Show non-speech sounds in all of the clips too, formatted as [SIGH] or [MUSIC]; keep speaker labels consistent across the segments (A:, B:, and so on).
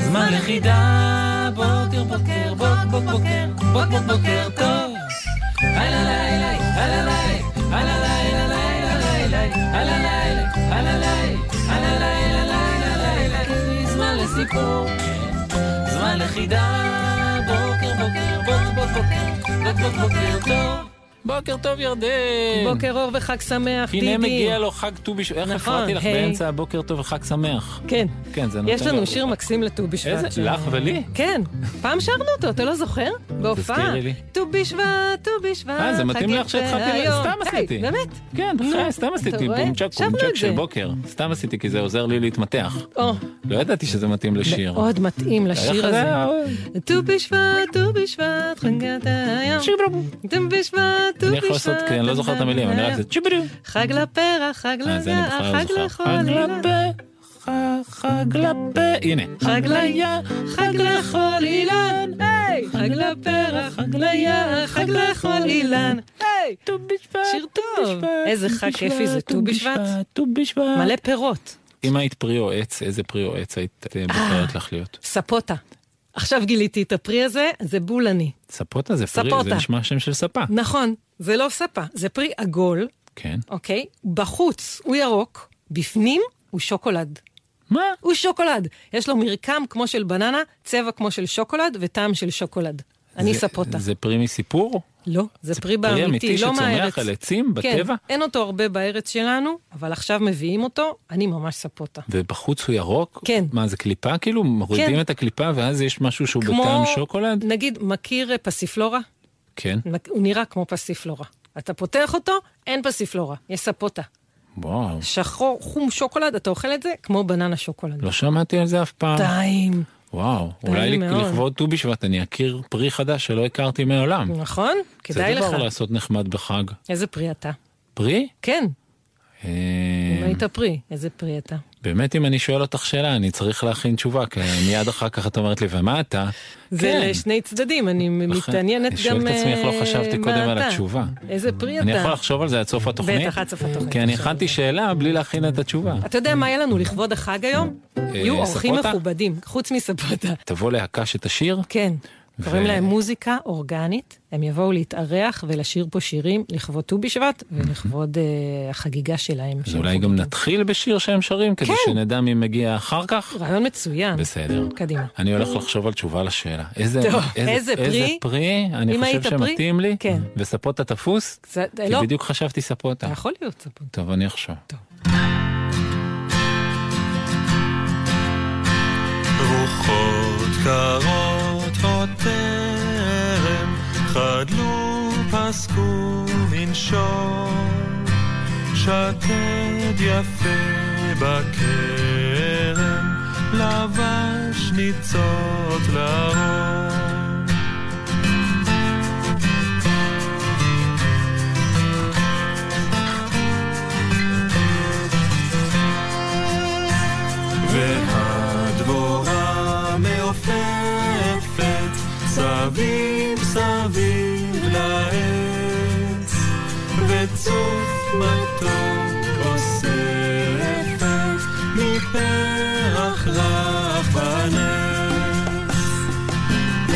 A: זמן לחידה. בוקר, בוקר, בוק, בוק, בוקר, בוק, בוק, בוקר טוב. הלא לילי, הלא לילי, הלא לילי, הלא לילי, הלא לילי, הלא לילי, הלא לילי, הלא לילי, זמן לסיפור. זמן לחידה, בוקר בוקר בוק בוק בוקר, בוק בוק בוקר טוב. בוקר טוב ירדן.
B: בוקר אור וחג שמח, דידי.
A: הנה מגיע לו חג ט"ו בשבט, איך
B: נכון,
A: הפרעתי לך
B: היי.
A: באמצע הבוקר טוב וחג שמח.
B: כן.
A: כן, זה נותן
B: יש
A: לי-
B: לנו שיר מקסים לט"ו בשבט.
A: איזה? לך ולי?
B: כן. פעם שרנו אותו, אתה לא זוכר? בהופעה.
A: לי.
B: ט"ו בשבט, ט"ו בשבט.
A: אה, זה מתאים
B: חגית
A: לך שהתחלתי, ל-
B: והיום.
A: סתם
B: היי,
A: עשיתי.
B: באמת?
A: כן,
B: נו,
A: בחיי, סתם
B: אתה
A: עשיתי
B: רואה?
A: בומצ'ק
B: שרנו
A: בומצ'ק
B: את
A: של
B: זה.
A: בוקר. סתם עשיתי כי זה עוזר לי להתמתח.
B: או,
A: לא ידעתי שזה מתאים לשיר.
B: מאוד מתאים
A: איך
B: לשיר
A: זה
B: הזה.
A: היה?
B: ט"ו בשבט, ט"ו בשבט, חגת היום. ט"ו בשבט, ט"ו
A: אני
B: בשבט.
A: יכול לעשות, כי אני לא זוכר את המילים, אני רק זה צ'יברו.
B: חג לפרח, חג
A: אה, זה אני
B: לגע,
A: בכלל
B: חג
A: לא
B: לכל
A: זוכר. חג
B: אילן.
A: לפה, ח- חג לפה, הנה.
B: חג ליה, חג לכל אילן, היי! חג לפרח, חג ליה, חג לכל אילן, היי!
A: ט"ו בשבט,
B: שיר
A: ט"ו
B: טוב.
A: בשבט,
B: איזה
A: ט"ו
B: חג
A: בשבט,
B: כיפי זה, ט"ו בשבט.
A: ט"ו בשבט.
B: מלא פירות,
A: אם היית פרי או עץ, איזה פרי או עץ היית אה, בוחרת לך להיות?
B: ספוטה. עכשיו גיליתי את הפרי הזה, זה בולני.
A: ספוטה אה, זה פרי, זה
B: ספוטה.
A: נשמע שם של ספה.
B: נכון, זה לא ספה, זה פרי עגול,
A: כן.
B: אוקיי? בחוץ הוא ירוק, בפנים הוא שוקולד.
A: מה?
B: הוא שוקולד. יש לו מרקם כמו של בננה, צבע כמו של שוקולד וטעם של שוקולד. אני
A: זה-
B: ספוטה.
A: זה פרי מסיפור?
B: לא, זה פרי
A: פרי
B: באמיתי,
A: אמיתי
B: לא מהארץ.
A: שצומח על עצים בטבע?
B: כן, אין אותו הרבה בארץ שלנו, אבל עכשיו מביאים אותו, אני ממש ספוטה.
A: ובחוץ הוא ירוק?
B: כן.
A: מה, זה קליפה כאילו? מורידים את הקליפה ואז יש משהו שהוא
B: כמו-
A: בטעם שוקולד?
B: נגיד, מכיר אה, פסיפלורה?
A: כן.
B: מק- הוא נראה כמו פסיפלורה. אתה פותח אותו, אין פסיפלורה, יש ספוטה.
A: וואו,
B: שחור, חום שוקולד, אתה אוכל את זה כמו בננה שוקולד.
A: לא שמעתי על זה אף פעם.
B: טיים.
A: וואו, אולי
B: מאוד.
A: לכבוד ט"ו בשבט אני אכיר פרי חדש שלא הכרתי מעולם.
B: נכון? כדאי לך.
A: זה דבר לעשות נחמד בחג.
B: איזה פרי אתה.
A: פרי?
B: כן,
A: אה,
B: אם היית פרי, איזה פרי אתה.
A: באמת אם אני שואל אותך שאלה אני צריך להכין תשובה כי מיד אחר כך את אומרת לי ומה אתה? כן.
B: זה לא לשני צדדים, אני
A: לכן,
B: מתעניינת
A: אני
B: גם...
A: שואל את עצמי איך לא
B: אה,
A: חשבתי
B: מה
A: קודם על
B: אתה.
A: התשובה.
B: איזה פרי אתה.
A: אני יכול לחשוב על זה עד סוף התוכנית?
B: בטח, עד סוף התוכנית.
A: כי אני הכנתי שאלה בלי להכין את התשובה.
B: אתה יודע מה היה לנו לכבוד החג היום? יהיו אורחים
A: אה, ספוטה?
B: מכובדים, חוץ מספוטה.
A: תבוא להקה שתשיר?
B: כן. קוראים להם מוזיקה אורגנית, הם יבואו להתארח ולשיר פה שירים לכבוד ט"ו בשבט ולכבוד אה, החגיגה שלהם.
A: אז
B: שהם
A: אולי גם
B: חוגגים.
A: נתחיל בשיר שהם שרים
B: כן.
A: כדי שנדע מי מגיע אחר כך?
B: רעיון מצוין.
A: בסדר.
B: קדימה.
A: אני הולך לחשוב על תשובה לשאלה. איזה,
B: טוב,
A: איזה,
B: איזה פרי?
A: איזה פרי? אני
B: אם
A: חושב
B: היית פרי?
A: שמתאים לי.
B: כן.
A: וספוטה תפוס?
B: זה-
A: כי
B: לא, נכון.
A: בדיוק חשבתי
B: אתה
A: ספוטה.
B: יכול להיות ספוטה.
A: טוב, אני אחשוב.
C: רוחות קרות עוד טרם חדלו פסקו מנשום שקד יפה בכרם לבש ניצות לרום והדבורה מעופפת סביב סביב לעץ וצוף מתוק אוספת מפרח רך בנץ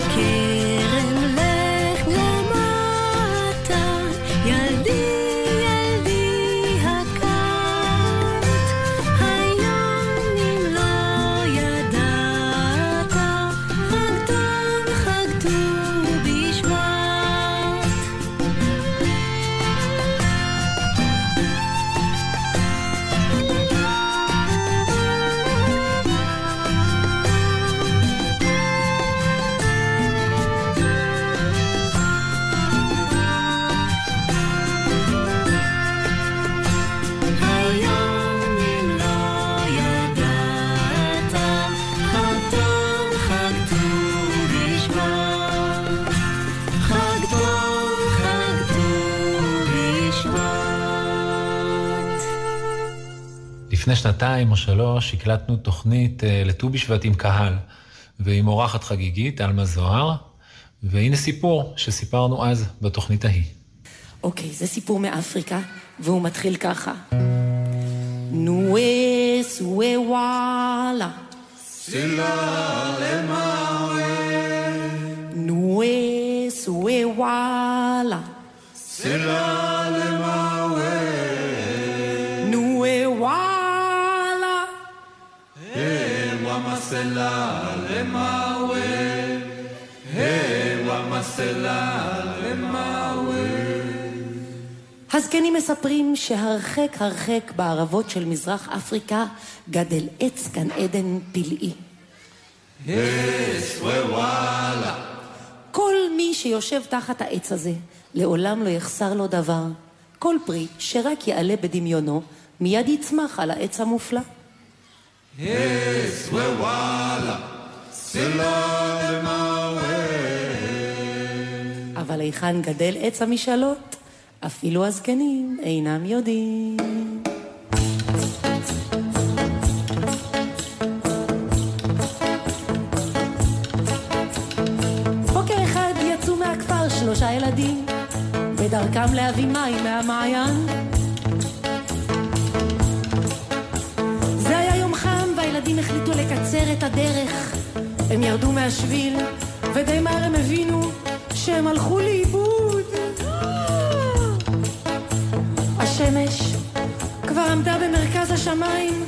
D: לכרם לך למטה, ילדי ילדי הקמת. היום אם לא ידעת, חג ט"ו חג ט"ו בשבט.
A: לפני שנתיים או שלוש הקלטנו תוכנית אה, לט"ו בשבט עם קהל, ועם אורחת חגיגית, עלמה זוהר, והנה סיפור שסיפרנו אז בתוכנית ההיא.
E: אוקיי, זה סיפור מאפריקה, והוא מתחיל ככה. נואה סואה וואלה. נואה סואה וואלה. נואה וואלה. הזקנים מספרים שהרחק הרחק בערבות של מזרח אפריקה גדל עץ גן עדן פלאי. כל מי שיושב תחת העץ הזה, לעולם לא יחסר לו דבר. כל פרי שרק יעלה בדמיונו, מיד יצמח על העץ המופלא. אבל היכן גדל עץ המשאלות? אפילו הזקנים אינם יודעים. בוקר אחד יצאו מהכפר שלושה ילדים, בדרכם להביא מים מהמעיין. זה היה יום חם והילדים החליטו לקצר את הדרך. הם ירדו מהשביל, ודי מהר הם הבינו שהם הלכו לאיבוד. השמש כבר עמדה במרכז השמיים,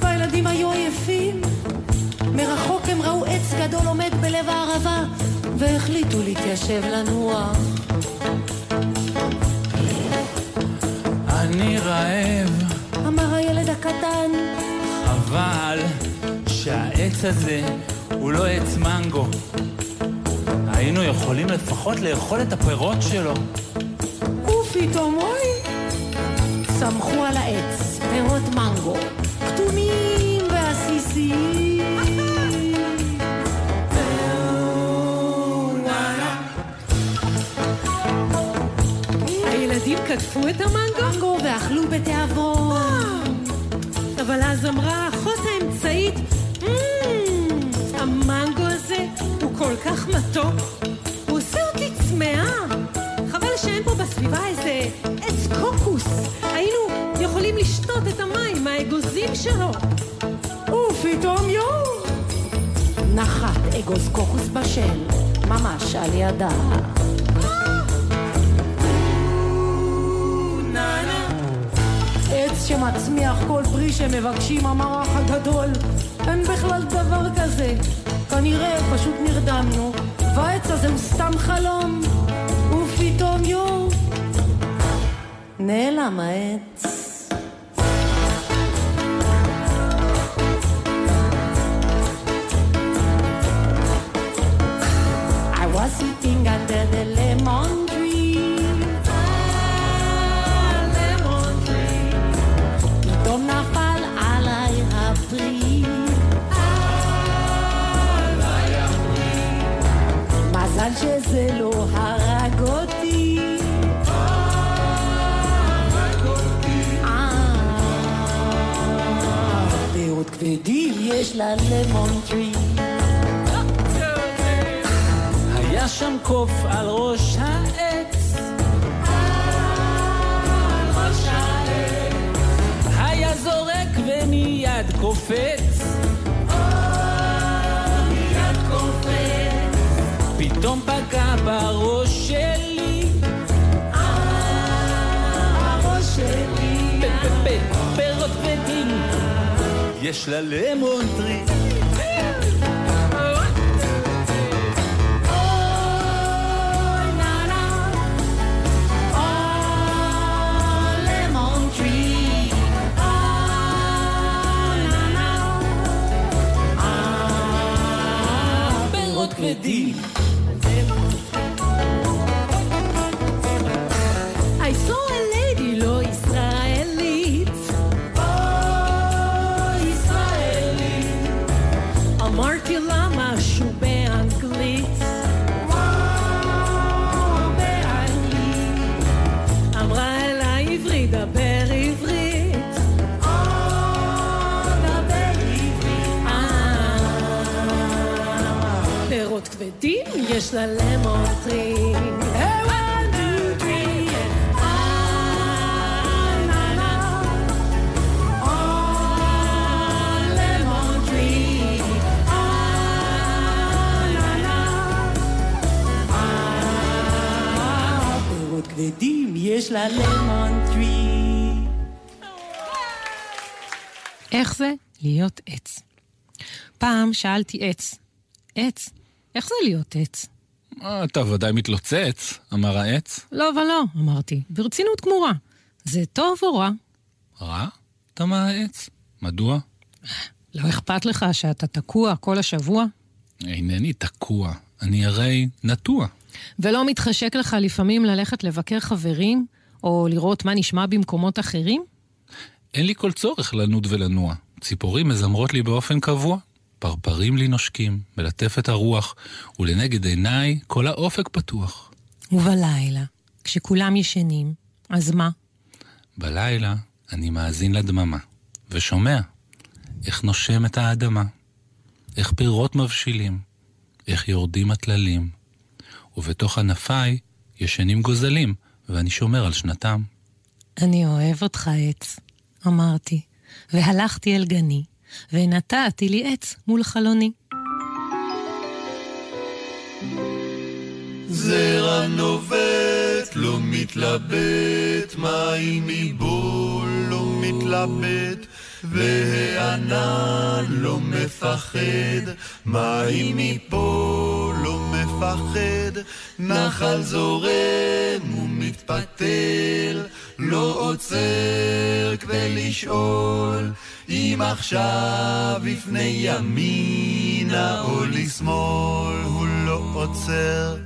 E: והילדים היו עייפים. מרחוק הם ראו עץ גדול עומד בלב הערבה, והחליטו להתיישב לנוח.
C: אני רעב,
E: אמר הילד הקטן,
C: אבל שהעץ הזה הוא לא עץ מנגו. היינו יכולים לפחות לאכול את הפירות שלו.
E: ופתאום אוי! צמחו על העץ פירות מנגו, כתומים ועסיסיים.
B: הילדים קטפו את המנגו,
E: מנגו ואכלו בתיאבון.
B: אבל אז אמרה האחות האמצעית, "מ, המנגו הזה הוא כל כך מתוק, הוא עושה אותי צמאה. חבל שאין פה בסביבה איזה עץ קוקוס, היינו יכולים לשתות את המים מהאגוזים שלו.
E: ופתאום יום! נחת אגוז קוקוס בשל, ממש על ידה. עץ שמצמיח כל פרי שמבקשים המערך הגדול, אין בכלל דבר כזה. כנראה פשוט נרדמנו, והעץ הזה הוא סתם חלום, ופתאום יום! נעלם העץ. I was sitting under the lemon tree. Ah, lemon tree. פתאום נפל עליי הפרי. מזל שזה לא הרג אותי. אה, פירות כבדים יש ללמון טרי.
C: היה שם קוף על ראש העץ. היה זורק ומיד קופץ. פתאום פגע בראש שלי. הראש שלי. פירות כבדים. יש לה למון טרי.
B: I saw a lady לא ישראלית. Oh, אוי, ישראלית. אמרתי
F: יש לה למון טרי. כבדים יש לה למון טרי.
B: איך זה להיות עץ? פעם שאלתי עץ, עץ, איך זה להיות עץ?
E: "אה, אתה ודאי מתלוצץ, אמר העץ.
B: לא ולא, אמרתי, ברצינות גמורה. זה טוב או רע?
E: רע? תמה העץ. מדוע?
B: לא אכפת לך שאתה תקוע כל השבוע?
E: אינני תקוע, אני הרי נטוע.
B: ולא מתחשק לך לפעמים ללכת לבקר חברים, או לראות מה נשמע במקומות אחרים?
E: אין לי כל צורך לנוד ולנוע. ציפורים מזמרות לי באופן קבוע, פרפרים לי נושקים, מלטפת הרוח, ולנגד עיניי כל האופק פתוח.
B: ובלילה, כשכולם ישנים, אז מה?
E: בלילה אני מאזין לדממה, ושומע איך נושמת האדמה, איך פירות מבשילים, איך יורדים הטללים, ובתוך ענפיי ישנים גוזלים, ואני שומר על שנתם.
B: אני אוהב אותך עץ, אמרתי, והלכתי אל גני, ונטעתי לי עץ מול חלוני.
G: זרע נובט, לא מתלבט, מים מבול, לא מתלבט, והענן לא מפחד, מים מפה, לא מפחד, נחל זורם ומתפתל, לא עוצר כדי לשאול, אם עכשיו לפני ימינה או לשמאל, הוא לא עוצר.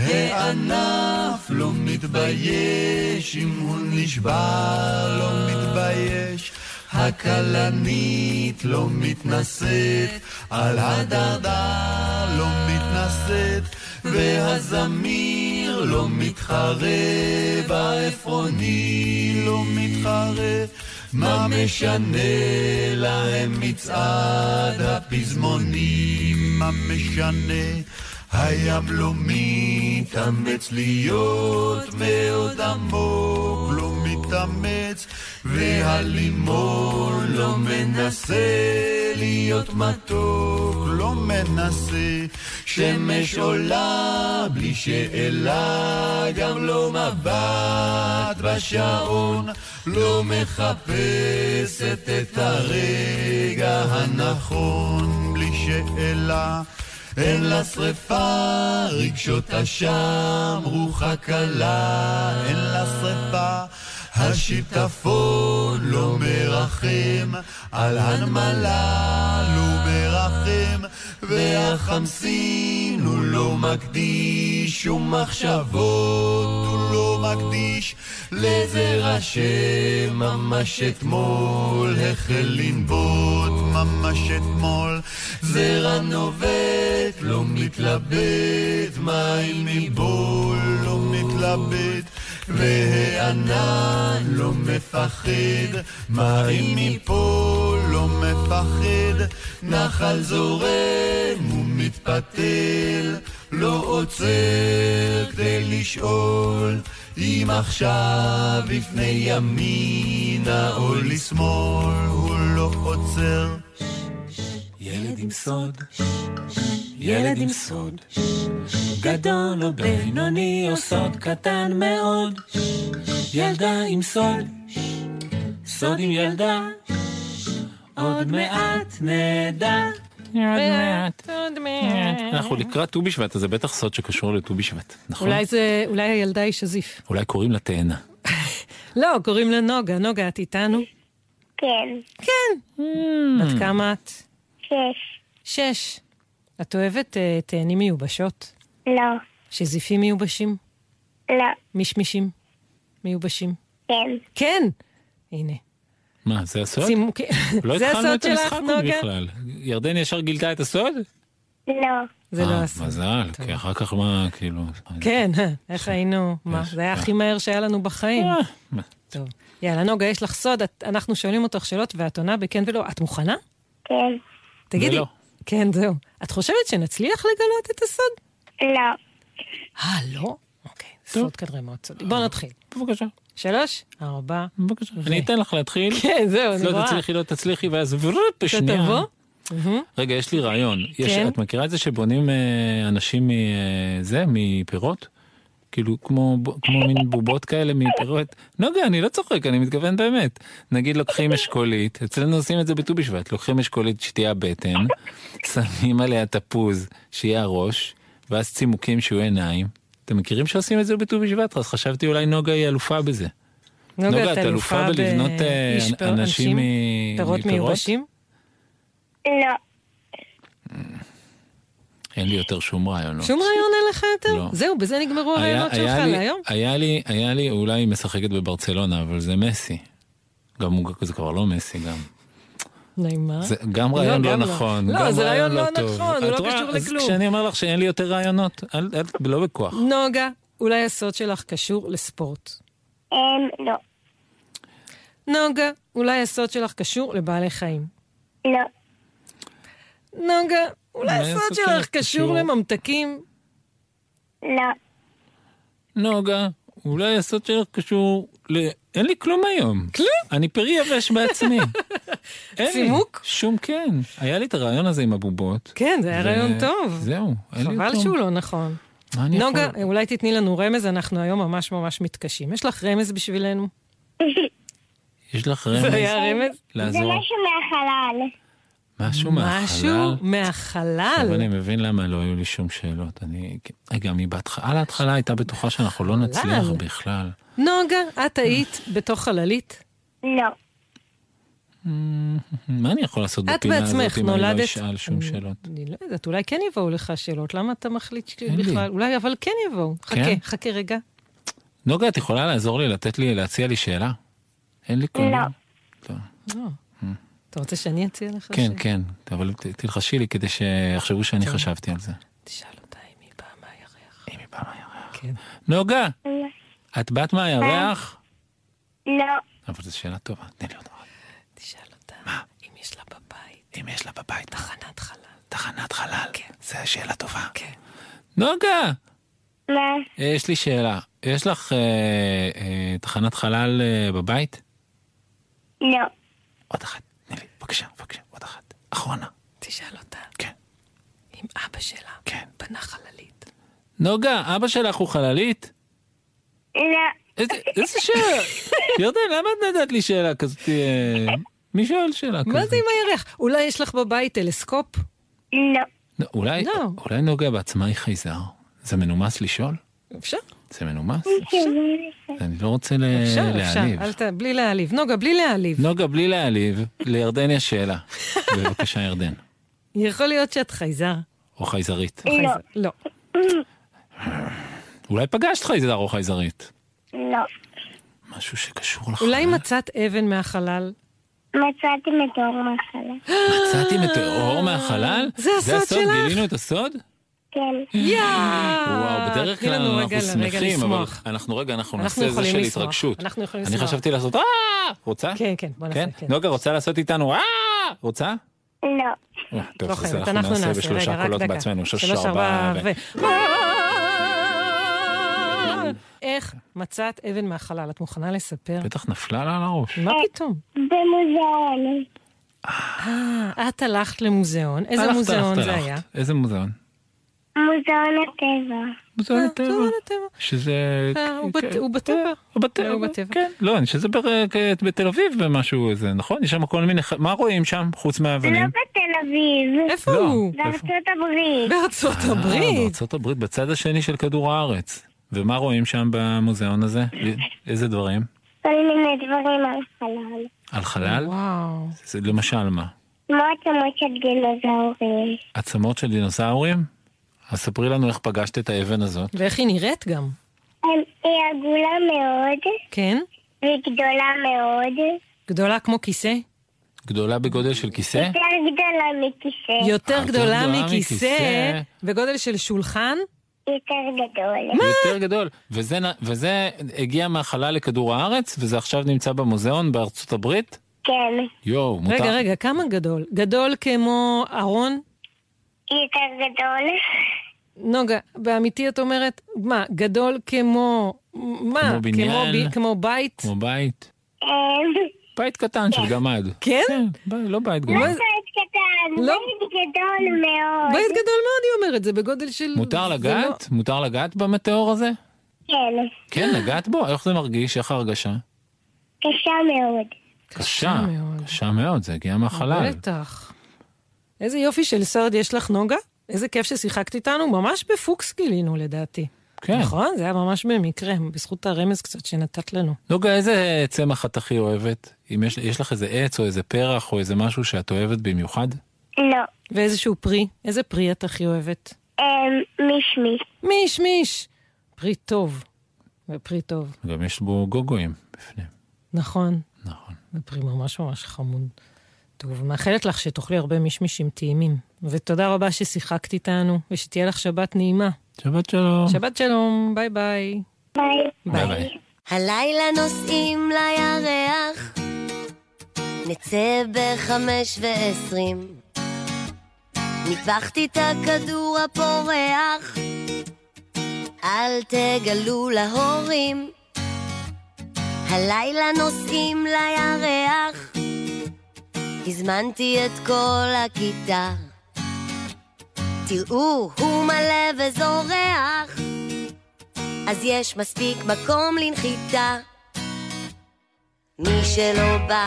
G: הענף לא מתבייש, אם הוא נשבר לא מתבייש, הכלנית לא מתנשאת, על הדרדה לא מתנשאת, והזמיר לא מתחרב, העפרוני לא מתחרב, מה משנה להם מצעד הפזמונים, מה משנה? הים לא מתאמץ להיות מאוד עמוק, לא מתאמץ, והלימון לא מנסה להיות מתוק, לא מנסה, שמש עולה בלי שאלה, גם לא מבט בשעון, לא מחפשת את הרגע הנכון, בלי שאלה. אין לה שרפה, רגשות אשם, רוחה קלה, אין לה שרפה. השיטפון לא מרחם, על הנמלה לא מרחם, והחמסין הוא לא מקדיש, ומחשבות הוא לא מקדיש, לזרע שממש אתמול החל לנבוט, ממש אתמול, זרע נובט, לא מתלבט, מים מבול, לא מתלבט. והענן לא מפחד, מים מפה לא מפחד, נחל זורם ומתפתל, לא עוצר כדי לשאול אם עכשיו לפני ימינה או לשמאל, הוא לא עוצר.
H: ילד עם סוד, ילד עם סוד, גדול או בינוני או סוד קטן מאוד, ילדה עם סוד, סוד עם ילדה, עוד מעט נדע.
B: עוד מעט.
A: אנחנו לקראת ט"ו בשבט, אז זה בטח סוד שקשור לט"ו בשבט, נכון?
B: אולי זה, אולי הילדה היא שזיף.
A: אולי קוראים לה תאנה.
B: לא, קוראים לה נוגה. נוגה, את איתנו?
I: כן,
B: כן.
A: Hmm.
B: בת כמה את?
I: שש.
B: שש. את אוהבת אה, תאנים מיובשות?
I: לא,
B: שזיפים מיובשים?
I: לא,
B: מישמישים? מיובשים?
I: כן.
B: כן! הנה.
A: מה, זה הסוד?
B: שימו- כן.
A: לא
B: זה
A: התחלנו
B: הסוד
A: את
B: שלך,
A: המשחק עוד
B: נוגה?
A: בכלל. ירדן ישר גילתה את הסוד?
I: לא,
B: זה לא
A: אה,
B: הסוד.
A: מזל, כי אחר כך מה, כאילו...
B: כן, [LAUGHS] איך היינו? מה, זה היה הכי מהר שהיה לנו בחיים.
A: אה, מה?
B: טוב. יאללה, נוגה, יש לך סוד, את- אנחנו שואלים אותך שאלות ואת עונה בכן ולא. את מוכנה?
I: כן.
B: תגידי.
A: ולא.
B: כן, זהו. את חושבת שנצליח לגלות את הסוד?
I: לא.
B: אה, לא? אוקיי, סוד כנראה מאוד סודי. בוא נתחיל.
A: אה, בבקשה.
B: שלוש, ארבע.
A: בבקשה. אני אתן לך להתחיל.
B: אוקיי. כן, זהו, אני
A: לא
B: רואה.
A: תצליחי, לא תצליחי, ואז ורוט
B: אתה
A: בשנייה.
I: לא.
B: תבוא? מהמם.
A: רגע, יש לי רעיון. יש,
B: כן.
A: את מכירה את זה שבונים אה, אנשים מזה, מפירות? כאילו, כמו, ב- כמו מין בובות כאלה מפירות. נוגה, אני לא צוחק, אני מתכוון באמת. נגיד לוקחים אשכולית, אצלנו עושים את זה בט"ו בשבט, לוקחים אשכולית שתהיה הבטן, שמים עליה תפוז שיהיה הראש, ואז צימוקים שיהיו עיניים. אתם מכירים שעושים את זה בט"ו בשבט? אז חשבתי אולי נוגה היא אלופה בזה. נוגה, את אלופה בלבנות אה,
B: איש פיר-
A: אנשים מ-
B: פירות מיובשים?
I: לא.
A: אין לי יותר שום רעיונות.
B: שום רעיון אין לך
A: לא.
B: יותר? זהו, בזה נגמרו
A: היה-
B: הרעיונות
A: היה
B: שלך
A: לי-
B: להיום?
A: היה לי, היה לי, אולי היא משחקת בברצלונה, אבל זה מסי. גם הוא, זה כבר לא מסי גם.
B: נעימה.
A: זה גם רעיון לא
B: אה? גם
A: נכון.
B: לא,
A: גם
B: זה רעיון לא
A: טוב.
B: נכון, הוא
A: את
B: לא
A: רואה?
B: קשור
A: אז
B: לכלום.
A: כשאני אומר לך שאין לי יותר רעיונות, אל- אל- לא בכוח.
B: נוגה, אולי הסוד שלך קשור לספורט.
I: אמ, לא.
B: נוגה, אולי הסוד שלך קשור לבעלי חיים.
I: לא.
B: נוגה, אולי
A: אולי
B: הסוד שלך קשור לממתקים?
I: לא.
A: נוגה, אולי הסוד שלך קשור ל... אין לי כלום היום. כלום? אני פרי יבש
B: [LAUGHS]
A: בעצמי. אין לי
B: צימוק?
A: שום כן. היה לי את הרעיון הזה עם הבובות.
B: כן, זה היה
A: ו-
B: רעיון טוב.
A: זהו, אין לי
B: חבל
A: אותו.
B: שהוא לא נכון.
A: מה אני
B: נוגה,
A: יכול?
B: אולי תתני לנו רמז, אנחנו היום ממש ממש מתקשים. יש לך רמז בשבילנו?
A: יש לך
B: זה
A: רמז?
B: היה רמז?
I: זה
A: לעזור.
I: משהו מהחלל.
A: משהו מהחלל.
B: משהו
A: אבל
B: מהחלל.
A: אני מבין למה לא היו לי שום שאלות. אני... רגע, מי בהתחלה להתחלה הייתה בטוחה שאנחנו לא נצליח
B: חלל.
A: בכלל. Mm-hmm.
B: נוגה, את היית בתוך חללית?
I: לא.
A: מה אני יכול לעשות
B: את
A: בפינה הזאת
B: בעצמך
A: אם אני
B: נולדת-
A: לא אשאל שום שאלות?
B: אני לא יודעת, אולי כן יבואו לך שאלות, למה אתה מחליט
A: אין לי.
B: שבכלל? אולי, אבל כן יבואו.
A: כן?
B: חכה, חכה רגע.
A: נוגה, את יכולה לעזור לי, לתת לי, להציע לי שאלה? אין לי כלום.
I: לא.
B: לא. אתה רוצה שאני אציע לך?
A: אה. כן,
B: ש-
A: כן, אבל ת- תלחשי לי כדי שיחשבו שאני חשבתי על זה.
B: תשאל אותה אם היא באה מהירח.
A: אם היא באה מהירח.
B: כן.
A: נוגה,
I: לא.
A: את באת מהירח?
I: לא.
A: אבל זו שאלה טובה, תני לי עוד אחת.
B: תשאל אותה מה? אם יש לה בבית
A: אם יש לה בבית
B: תחנת חלל.
A: תחנת חלל,
B: כן.
A: זו שאלה טובה.
B: כן.
A: נוגה,
I: מה?
A: אה, יש לי שאלה. יש לך אה, אה, תחנת חלל אה, בבית?
I: לא.
A: עוד אחת, תני לי, בבקשה, בבקשה, עוד אחת. אחרונה,
B: תשאל אותה
A: כן.
B: אם אבא שלה
A: כן.
B: בנה חללית.
A: נוגה, אבא שלך הוא חללית?
I: לא.
A: איזה איזה שאלה? ירדן, למה את נתת לי שאלה כזאת? אה, מי שואל שאלה כזאת?
B: מה זה עם הירח? אולי יש לך בבית טלסקופ?
I: לא.
A: נו, אולי,
B: לא.
A: אולי נוגה בעצמה היא חייזר? זה מנומס לשאול?
B: אפשר?
A: זה מנומס? אני לא רוצה ל-
B: אפשר, אפשר.
A: להעליב.
B: אל ת... בלי להעליב. נוגה, בלי להעליב.
A: נוגה, בלי להעליב, לירדן יש
B: [LAUGHS]
A: שאלה. בבקשה, ירדן.
B: יכול להיות שאת חייזר.
A: או חייזרית.
I: לא.
B: חייזר. לא.
A: אולי פגשת חייזר או חייזרית.
I: לא.
A: משהו שקשור לך.
B: אולי מצאת אבן מהחלל?
I: מצאתי מדור מהחלל.
A: מצאתי מטאור מהחלל?
B: זה הסוד
A: הסוד?
B: שלך?
A: גילינו את הסוד?
I: כן.
B: יאה!
A: וואו, בדרך
B: תני
A: כלל
B: לנו
A: אנחנו
B: רגע- רגע
A: שמחים, אבל
B: לשמוח.
A: אנחנו רגע, אנחנו
B: אנחנו
A: נעשה איזה
B: יכולים
A: של
B: לשמוח.
A: התרגשות.
B: אנחנו יכולים
A: אני
B: לשמוח.
A: חשבתי לעשות אה! רוצה?
B: כן, כן, בוא נעשה, כן.
A: נוגה רוצה לעשות איתנו אה! רוצה?
I: לא.
A: אה, טוב,
B: לא
A: אז
B: חייבת, אנחנו נעשה, רגע,
A: בשלושה
B: רק
A: קולות
B: דקה.
A: בעצמנו, שלוש,
B: שלוש,
A: ארבע, ו...
B: אה! איך מצאת אבן מהחלל? את מוכנה לספר?
A: בטח נפלה לה על הראש.
B: מה פתאום?
I: אה, במוזיאון.
B: אה, את הלכת למוזיאון. איזה
A: הלכת,
B: מוזיאון
A: הלכת,
B: זה
A: הלכת.
B: היה?
A: איזה מוזיאון?
I: מוזיאון הטבע.
A: מוזיאון
B: מוזיאון
A: הטבע.
B: הטבע.
A: שזה...
B: אה, הוא בת-
A: כן,
B: הוא בטבע.
A: הוא
B: אה, הוא
A: בטבע,
B: בטבע.
A: כן. לא, אני שזה בר- כ- בתל אביב במשהו איזה, נכון? יש שם כל מיני... ח- מה רואים שם חוץ
I: לא
A: מהאבנים?
I: בתל אביב.
B: איפה
A: לא.
B: הוא?
I: בארצות הברית.
B: בארצות
A: אה,
B: הברית.
A: בארצות הברית, בצד השני של כדור הארץ. ומה רואים שם במוזיאון הזה? איזה דברים?
I: כל מיני דברים על חלל.
A: על חלל?
B: וואו.
A: זה למשל מה?
I: כמו עצמות של דינוזאורים.
A: עצמות של דינוסאורים? אז ספרי לנו איך פגשת את האבן הזאת.
B: ואיך היא נראית גם.
I: הם- היא אה, עגולה מאוד,
B: כן?
I: וגדולה מאוד.
B: גדולה כמו כיסא?
A: גדולה בגודל של כיסא?
I: יותר גדולה מכיסא.
B: יותר
A: יותר
B: גדולה
A: גדולה
B: מכיסא,
A: מכיסא.
B: בגודל של שולחן?
I: יותר גדול.
A: יותר גדול. וזה, נ- וזה הגיע מהחלל לכדור הארץ, וזה עכשיו נמצא במוזיאון בארצות הברית?
I: כן.
A: יואו, מותר.
B: רגע,
I: [LAUGHS]
B: רגע, כמה גדול? גדול כמו ארון?
I: יותר גדול.
B: נוגה, באמיתי את אומרת, מה, גדול כמו... מה?
A: כמו בניין.
B: בי- אה, כמו בית?
A: כמו בית.
I: אמ,
A: בית קטן של גמד.
B: כן?
A: ב- לא בית
I: לא
A: גדול.
I: בית קטן,
B: לא.
I: בית גדול מאוד.
B: בית גדול מאוד, היא אומרת, זה בגודל של...
A: מותר
B: זה לא-
A: לגעת? מותר לגעת במטאור הזה?
I: כן,
A: כן, לגעת בו? איך זה מרגיש? איך ההרגשה?
I: קשה מאוד.
A: קשה. קשה מאוד, זה הגיע מהחלל.
B: בטח. איזה יופי של סרד יש לך, נוגה. איזה כיף ששיחקת איתנו, ממש בפוקס גילינו לדעתי.
A: כן.
B: נכון? זה היה ממש במקרה, בזכות הרמז קצת שנתת לנו.
A: נוגה, איזה צמח את הכי אוהבת? אם יש, יש לך איזה עץ או איזה פרח או איזה משהו שאת אוהבת במיוחד?
I: לא.
B: ואיזשהו פרי, איזה פרי את הכי אוהבת?
I: אמ, מישמיש.
B: מיש, מיש! פרי טוב. זה פרי טוב,
A: גם יש בו גוגויים.
B: נכון.
A: נכון.
B: זה פרי ממש ממש חמוד. טוב, מאחלת לך שתאכלי הרבה מישמישים טעימים. ותודה רבה ששיחקת איתנו, ושתהיה לך שבת נעימה.
A: שבת שלום.
B: שבת שלום, ביי ביי.
I: ביי.
A: ביי ביי.
J: הלילה נוסעים לירח, נצא בחמש ועשרים. ניפחתי את הכדור הפורח, אל תגלו להורים. הלילה נוסעים לירח, הזמנתי את כל הכיתה. תראו, הוא מלא וזורח. אז יש מספיק מקום לנחיתה. מי שלא בא,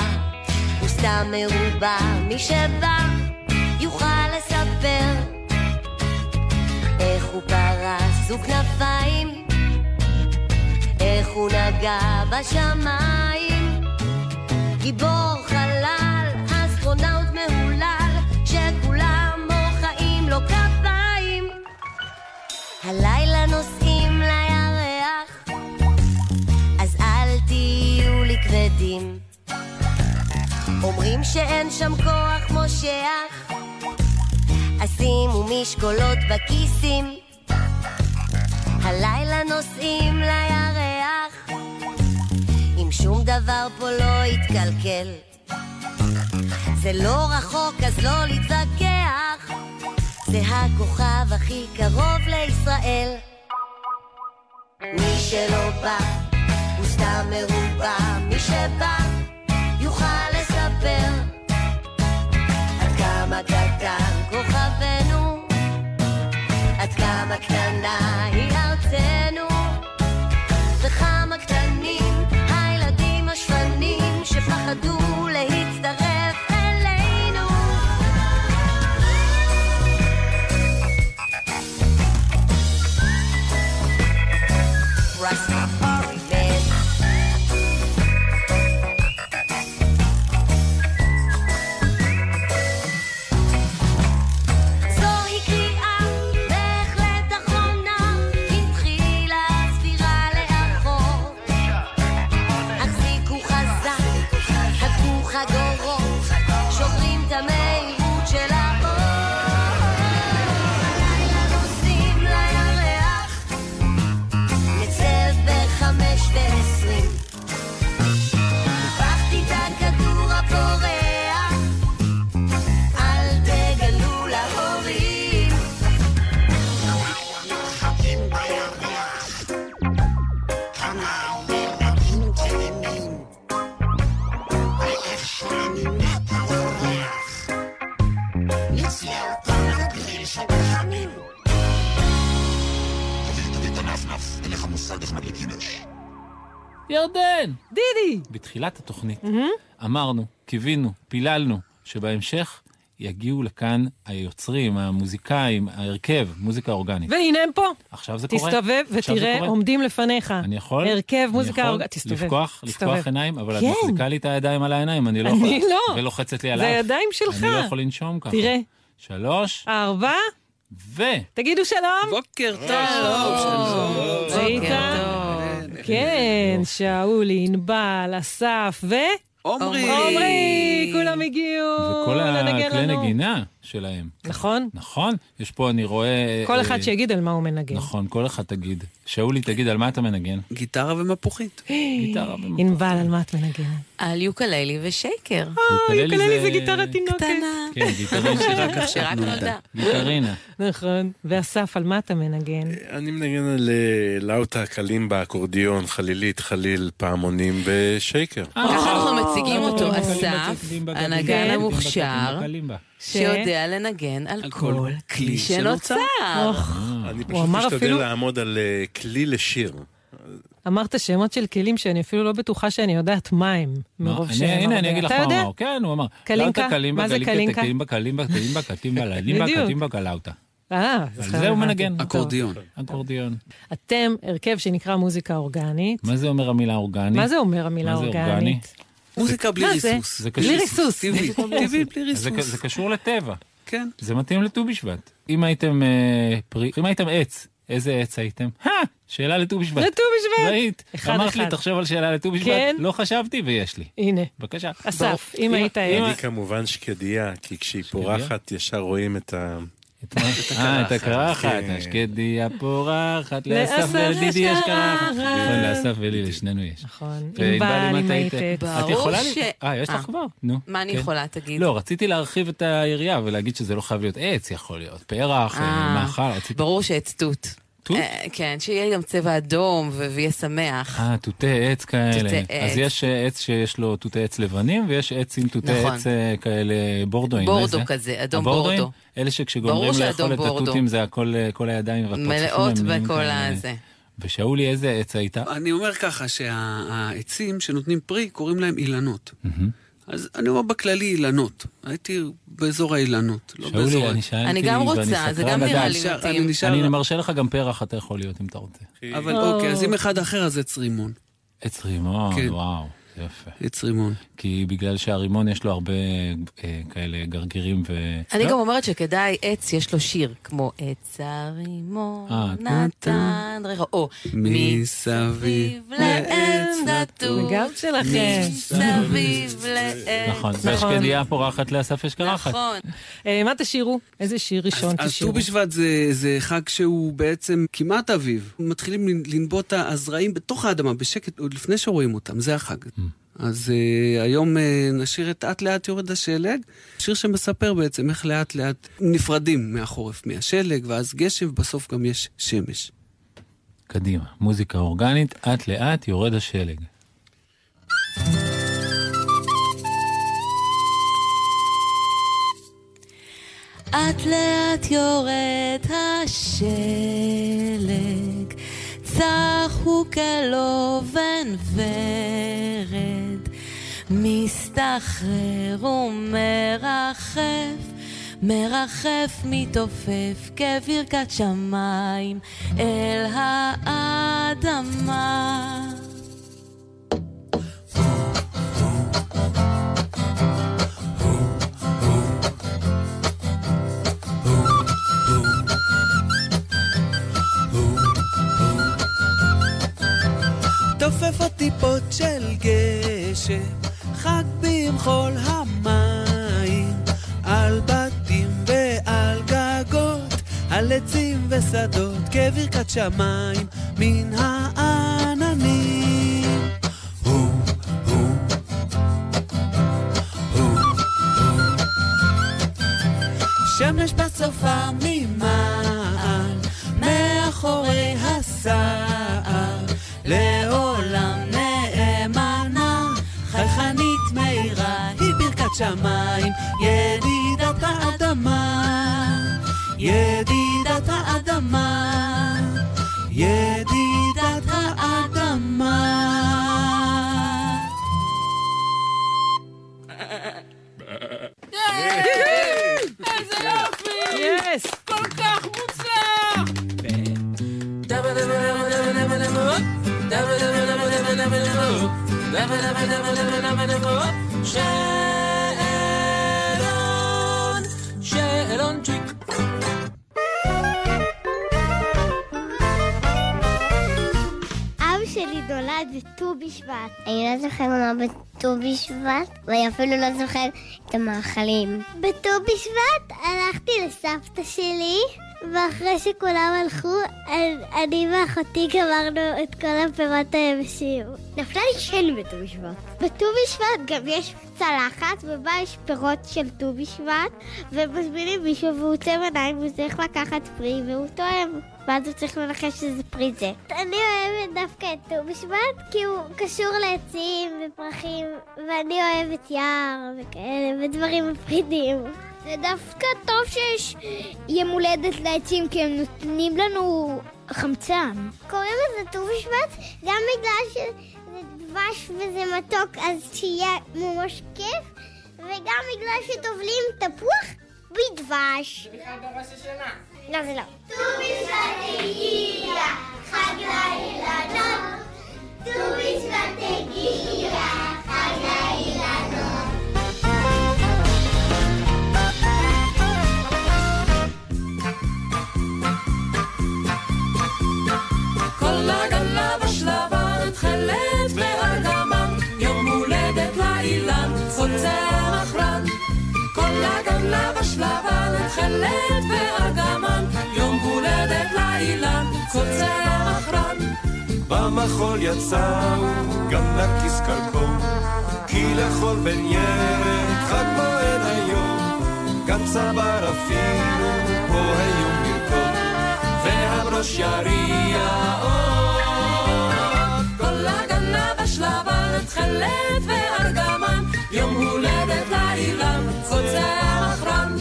J: הוא סתם מרובע. מי שבא, יוכל לספר איך הוא פרס וכנפיים, איך הוא נגע בשמיים. גיבור חלל, אסטרונאוט מהולל, שכולם מוחאים לו כפיים. הלילה נוסעים לירח, אז אל תהיו לי כבדים. אומרים שאין שם כוח מושך, אז שימו משקולות בכיסים. הלילה נוסעים לירח, אם שום דבר פה לא יתקלקל. זה לא רחוק, אז לא להתווכח. זה הכוכב הכי קרוב לישראל. מי שלא בא, הוא סתם מרובע. מי שבא, יוכל לספר עד כמה קטן כוכבנו, עד כמה קטנה היא ארצנו, וכמה קטנים הילדים השפנים שפחדו להצטרף אלינו. Rastafari man. זוהי קריאה בהחלט אחרונה, התחילה ספירה לאחור. החזיקו חזק, חטפו חגורות, שומרים את המהירות של האור. הלילה נוסעים לירח נצא בחמש ועשרים. הפכתי את הכדור הפורח, אל תגלו להורים.
A: ירדן!
B: דידי!
A: בתחילת התוכנית אמרנו, קיווינו, פיללנו, שבהמשך יגיעו לכאן היוצרים, המוזיקאים, ההרכב, מוזיקה אורגנית.
B: והנה הם פה.
A: עכשיו זה קורה.
B: תסתובב
A: עכשיו זה
B: ותראה,
A: קורה.
B: עומדים לפניך.
A: אני יכול?
B: הרכב
A: אני
B: מוזיקה
A: יכול
B: אורגנית. תסתובב.
A: לפקוח,
B: תסתובב.
A: לפקוח עיניים, אבל את
B: כן.
A: מחזיקה לי את הידיים על העיניים, אני לא
B: אני
A: יכול.
B: לא.
A: ולוחצת לי על
B: זה
A: האף.
B: הידיים שלך.
A: אני לא יכול לנשום ככה.
B: תראה.
A: שלוש,
B: ארבע,
A: ו...
B: תגידו שלום.
H: בוקר טוב.
B: זה איתה? כן, שאולי, ענבל, אסף ו...
K: עומרי.
B: עומרי, כולם הגיעו
A: כל
B: לנגן
A: הכלי
B: לנו.
A: נגינה שלהם.
B: נכון?
A: נכון? יש פה, אני רואה...
B: כל
A: אה,
B: אחד שיגיד על מה הוא
K: כן.
B: מנגן. [GASPS]
A: נכון, כל אחד תגיד. שאולי, תגיד, על מה אתה מנגן?
K: גיטרה ומפוחית.
A: גיטרה
B: אה, ענבל, על מה את מנגנת?
L: על יוקללי ושייקר.
A: אה, יוקללי זה גיטרה
B: תינוקת. קטנה.
A: כן, גיטרינה.
L: [LAUGHS] שרק עכשיו שרק נולדה. נולדה.
A: גיטרינה.
B: נכון. ואסף, על מה אתה מנגן?
M: אני מנגן על אה, לאוטה, קלימבה, אקורדיון, חלילית, חליל, פעמונים ושייקר.
A: אה,
L: ככה אנחנו מציגים אותו, אסף, הנגן המוכשר, שיודע לנגן על כל כלי שנוצר.
M: אני
A: אה.
B: הוא
M: פשוט
B: אמר
M: משתדל
B: אפילו-
M: לעמוד על אה, כלי לשיר.
B: אמרת שמות של כלים שאני אפילו לא בטוחה שאני יודעת מה הם, מרוב
A: אני-
B: שהם.
A: הנה, אני אגיד לך
B: אתה
A: מה הוא
B: יודע?
A: אמר. כן, הוא אמר.
B: קלינקה?
A: לאוטה, קלימבה,
B: מה זה
A: גליקטה,
B: קלינקה?
A: קלימבה, קלימבה, קלימבה,
B: [LAUGHS]
A: קטימבה, ללימבה,
B: בדיוק.
A: קטימבה, קלאוטה.
B: אה,
A: על
B: סליחה,
A: זה הוא
B: הבנתי.
A: מנגן.
B: טוב.
A: אקורדיון.
B: אתם הרכב שנקרא מוזיקה אורגנית.
A: מה זה אומר המילה אורגני?
B: מה זה אומר המילה
A: מה זה
B: אורגני?
A: אורגני?
K: מוזיקה בלי
B: מה לא, זה?
K: ריסוס.
A: זה
B: בלי
A: קשור-
B: ריסוס.
K: טבעי, טבעי בלי
A: זה ק-
K: ריסוס.
A: זה קשור לטבע.
K: כן.
A: זה מתאים לט"ו בשבט. אם הייתם אה, פרי, אם הייתם עץ, איזה עץ הייתם? הא! שאלה לט"ו בשבט.
B: לט"ו בשבט.
A: ראית?
B: אחד,
A: אמרת
B: אחד.
A: לי, תחשוב על שאלה לט"ו בשבט.
B: כן.
A: לא חשבתי ויש לי.
B: הנה.
A: בבקשה.
B: אסף,
A: בוא.
B: אם היית
M: אני
B: עץ.
M: כמובן שקדיה, כי כשהיא פורחת ישר רואים את ה...
A: אה, את הקרחת,
M: כן.
A: השקדיה פורחת, לאסף
B: לאסף
A: ולדידי
B: יש
A: יש קרחת.
B: קרחת.
A: נכון, לאסף ולי, לשנינו יש.
B: נכון.
A: וענבל,
B: ענבל,
A: אם
B: אם
A: את היית...
B: היית-
A: את
L: ברור
A: יכולה...
L: ש-
A: לי- אה, יש
L: אה.
A: לך כבר? נו.
L: מה אני
A: כן.
L: יכולה, תגיד?
A: לא, רציתי להרחיב את היריעה ולהגיד שזה לא חייב להיות עץ, יכול להיות פרח,
L: אה,
A: אה, מאכל, רציתי...
L: ברור שעץ תות.
A: תות?
L: אה, כן, שיהיה גם צבע אדום ו- ויהיה שמח.
A: אה, תותי עץ כאלה.
L: תותי עץ.
A: אז יש אה, עץ שיש לו תותי עץ לבנים, ויש עץ עם תותי
L: נכון.
A: עץ אה, כאלה בורדואים.
L: בורדו
A: מה זה?
L: כזה, אדום
A: הבורדואים?
L: בורדו.
A: אלה
L: ברור
A: שכשגומרים
L: שאדום
A: לאכול את
L: בורדו.
A: התותים זה הכל, אה, כל הידיים והפרצופים.
L: מלאות
A: הם נהיים
L: בכל
A: כאלה.
L: הזה.
A: ושאולי, איזה עץ הייתה?
K: אני אומר ככה, שהעצים שנותנים פרי, קוראים להם אילנות.
A: Mm-hmm.
K: אז אני אומר בכללי אילנות. הייתי באזור האילנות, לא באזור...
A: שאולי, אני שאלתי,
L: אני גם
A: ואני
L: רוצה, זה
A: סקרן
L: גם נראה
A: לדעת.
L: לי נשאר- מתאים.
A: אני
L: נשאר-
A: אני מרשה לך גם פרח, אתה יכול להיות אם אתה רוצה.
K: אבל אוקיי, אז אם אחד אחר, אז עץ רימון.
A: עץ רימון,
K: כן.
A: וואו, יפה.
K: עץ רימון.
A: כי בגלל שהרימון יש לו הרבה אה, כאלה גרגירים ו...
L: אני
A: לא?
L: גם אומרת שכדאי עץ, יש לו שיר, כמו עץ הרימון
A: אה,
L: נתן ריחו, או
K: מסביב
L: אוקיי. לעץ נטור,
B: הגב שלכם.
L: מסביב לעץ.
A: נכון,
B: נכון.
A: והשקדיה פורחת לאסף יש קרחת.
B: אה, מה תשאירו? איזה שיר ראשון
K: אז ט"ו
B: תשאירו?
K: בשבט זה, זה חג שהוא בעצם כמעט אביב. מתחילים לנ- לנבוט הזרעים בתוך האדמה, בשקט, עוד לפני שרואים אותם, זה החג. אז uh, היום uh, נשאיר את "אט לאט יורד השלג", שיר שמספר בעצם איך לאט לאט נפרדים מהחורף, מהשלג, ואז גשם, ובסוף גם יש שמש.
A: קדימה, מוזיקה אורגנית, אט לאט יורד השלג.
J: אט לאט יורד השלג, צחו כלובן ורד, מסתחרר ומרחף, מרחף מתעופף כברכת שמיים אל האדמה.
C: תופף אותי טיפות של גשם, חג במחול המים, על בתים ועל גגות, על עצים ושדות, כברכת שמיים, מן העננים. שמש בסופה ממעל, מאחורי הסער, לעולם נאמנה, חייכנית מהירה, היא ברכת שמיים, ידידת האדמה, ידידת האדמה, ידידת האדמה.
M: אה,
L: איזה יופי!
B: יס!
L: כל כך מוצלח!
C: שאלון, שאלון צ'יק.
I: אבא שלי
N: גדולה בט"ו בשבט. אני לא זוכר מה בט"ו בשבט, ואני אפילו לא זוכר את המאכלים. בט"ו בשבט הלכתי לסבתא שלי, ואחרי שכולם הלכו, אנ- אני ואחותי גמרנו את כל הפירות היבשים. נפלה לי שן כן בט"ו בשבט. בט"ו בשבט גם יש צלחת, ובה יש פירות של ט"ו בשבט, ומזמינים מישהו והוא עוצם עיניים, והוא צריך לקחת פרי והוא טועם. ואז הוא צריך לנחש שזה פרי זה. אני אוהבת דווקא את ט"ו בשבט, כי הוא קשור לעצים ופרחים, ואני אוהבת יער וכאלה, ודברים מפחידים. זה דווקא טוב שיש יום הולדת לעצים, כי הם נותנים לנו חמצן. קוראים לזה ט"ו בשבט גם בגלל שזה דבש וזה מתוק, אז שיהיה ממש כיף, וגם בגלל שטובלים תפוח בדבש.
J: סליחה בראש השנה.
N: לא, זה לא.
J: ט"ו בשבט הגיע, חג לאילנות. ט"ו בשבט הגיע, חג לאילנות.
C: כל הגלה בשלבן, תכלת וארגמן, יום הולדת לאילן, חוצר רן. כל הגלה בשלבן, תכלת וארגמן, יום הולדת לאילן, חוצר רן.
O: במחול יצאו גם נקיס קלקום, כי לכל בן ירד חג מועד היום, גם צבר אפילו פה היום ירקום, והברוש יריע עוד.
C: כל הגנה בשלבן, תכלת וארגמן, יום הולדת לאילן, חוצר רן.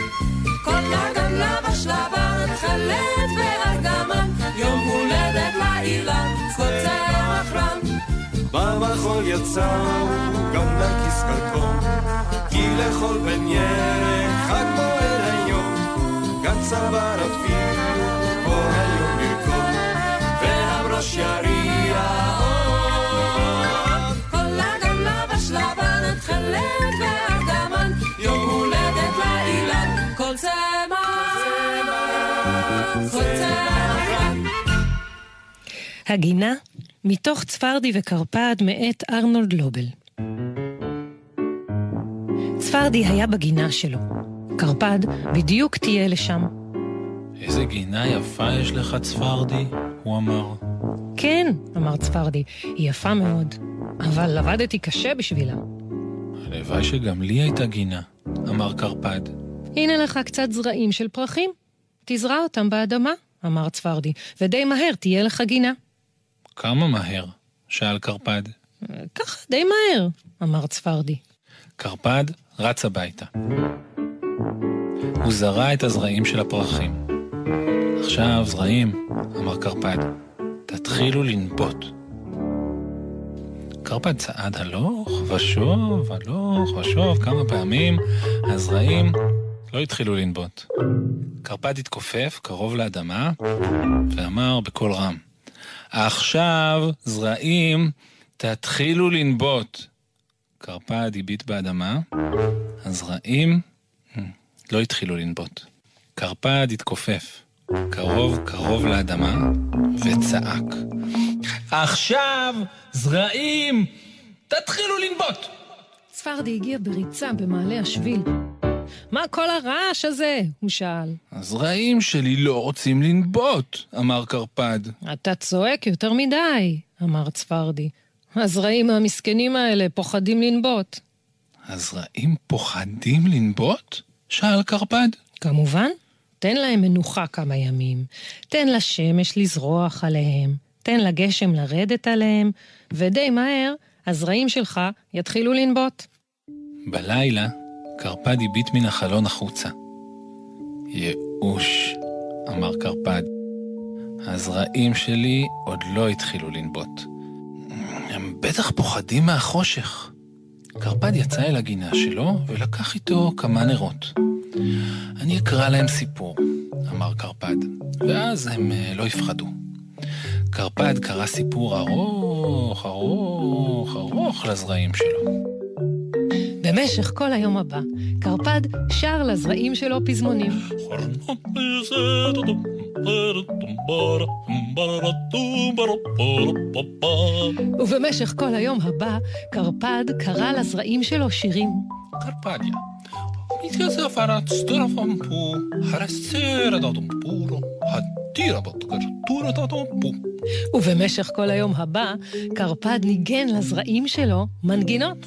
C: כל הגנה בשלבן, תכלת וארגמן, יום הולדת לאילן, חוצר רן.
O: במחול יצאו גם נקיס קלקום, כי לכל בן ירד חג מועד היום, גם צבר אפילו פה היום ירקום, והברוש יריע עוד.
C: כל הגמלה בשלבן, תכלת וארגמן, יום הולדת לאילן, כל צמח, כל צמח.
B: הגינה, מתוך צפרדע וקרפד מאת ארנולד לובל. צפרדע היה בגינה שלו. קרפד בדיוק טייל לשם.
A: איזה גינה יפה יש לך, צפרדי, הוא אמר.
B: כן, אמר צפרדע, היא יפה מאוד, אבל עבדתי קשה בשבילה.
A: הלוואי שגם לי הייתה גינה, אמר קרפד.
B: הנה לך קצת זרעים של פרחים. תזרע אותם באדמה, אמר צפרדע, ודי מהר תהיה לך גינה.
A: כמה מהר? שאל קרפד.
B: ככה, די מהר, אמר צפרדע.
A: קרפד רץ הביתה. הוא זרע את הזרעים של הפרחים. עכשיו, זרעים, אמר קרפד, תתחילו לנבוט. קרפד צעד הלוך ושוב, הלוך ושוב, כמה פעמים, הזרעים לא התחילו לנבוט. קרפד התכופף קרוב לאדמה ואמר בקול רם, עכשיו, זרעים, תתחילו לנבוט. קרפד הביט באדמה, הזרעים לא התחילו לנבוט. קרפד התכופף, קרוב קרוב לאדמה, וצעק. עכשיו, זרעים, תתחילו לנבוט!
B: צפרדע הגיע בריצה במעלה השביל. מה כל הרעש הזה? הוא שאל.
A: הזרעים שלי לא רוצים לנבוט, אמר קרפד.
B: אתה צועק יותר מדי, אמר צפרדע. הזרעים המסכנים האלה פוחדים לנבוט.
A: הזרעים פוחדים לנבוט? שאל קרפד.
B: כמובן, תן להם מנוחה כמה ימים. תן לשמש לזרוח עליהם. תן לגשם לרדת עליהם, ודי מהר הזרעים שלך יתחילו לנבוט.
A: בלילה, קרפד הביט מן החלון החוצה. ייאוש, אמר קרפד. הזרעים שלי עוד לא התחילו לנבוט. הם בטח פוחדים מהחושך. קרפד יצא אל הגינה שלו ולקח איתו כמה נרות. אני אקרא להם סיפור, אמר קרפד, ואז הם אה, לא יפחדו. קרפד קרא סיפור ארוך, ארוך, ארוך לזרעים שלו.
B: במשך כל היום הבא, קרפד שר לזרעים שלו פזמונים. ובמשך כל היום הבא, קרפד קרא לזרעים שלו שירים.
E: Carpaglia. Mi chiese fare strafampu, haressere da dompuro, hattira batkartura da dompu.
B: ובמשך כל היום הבא, קרפד ניגן לזרעים שלו מנגינות.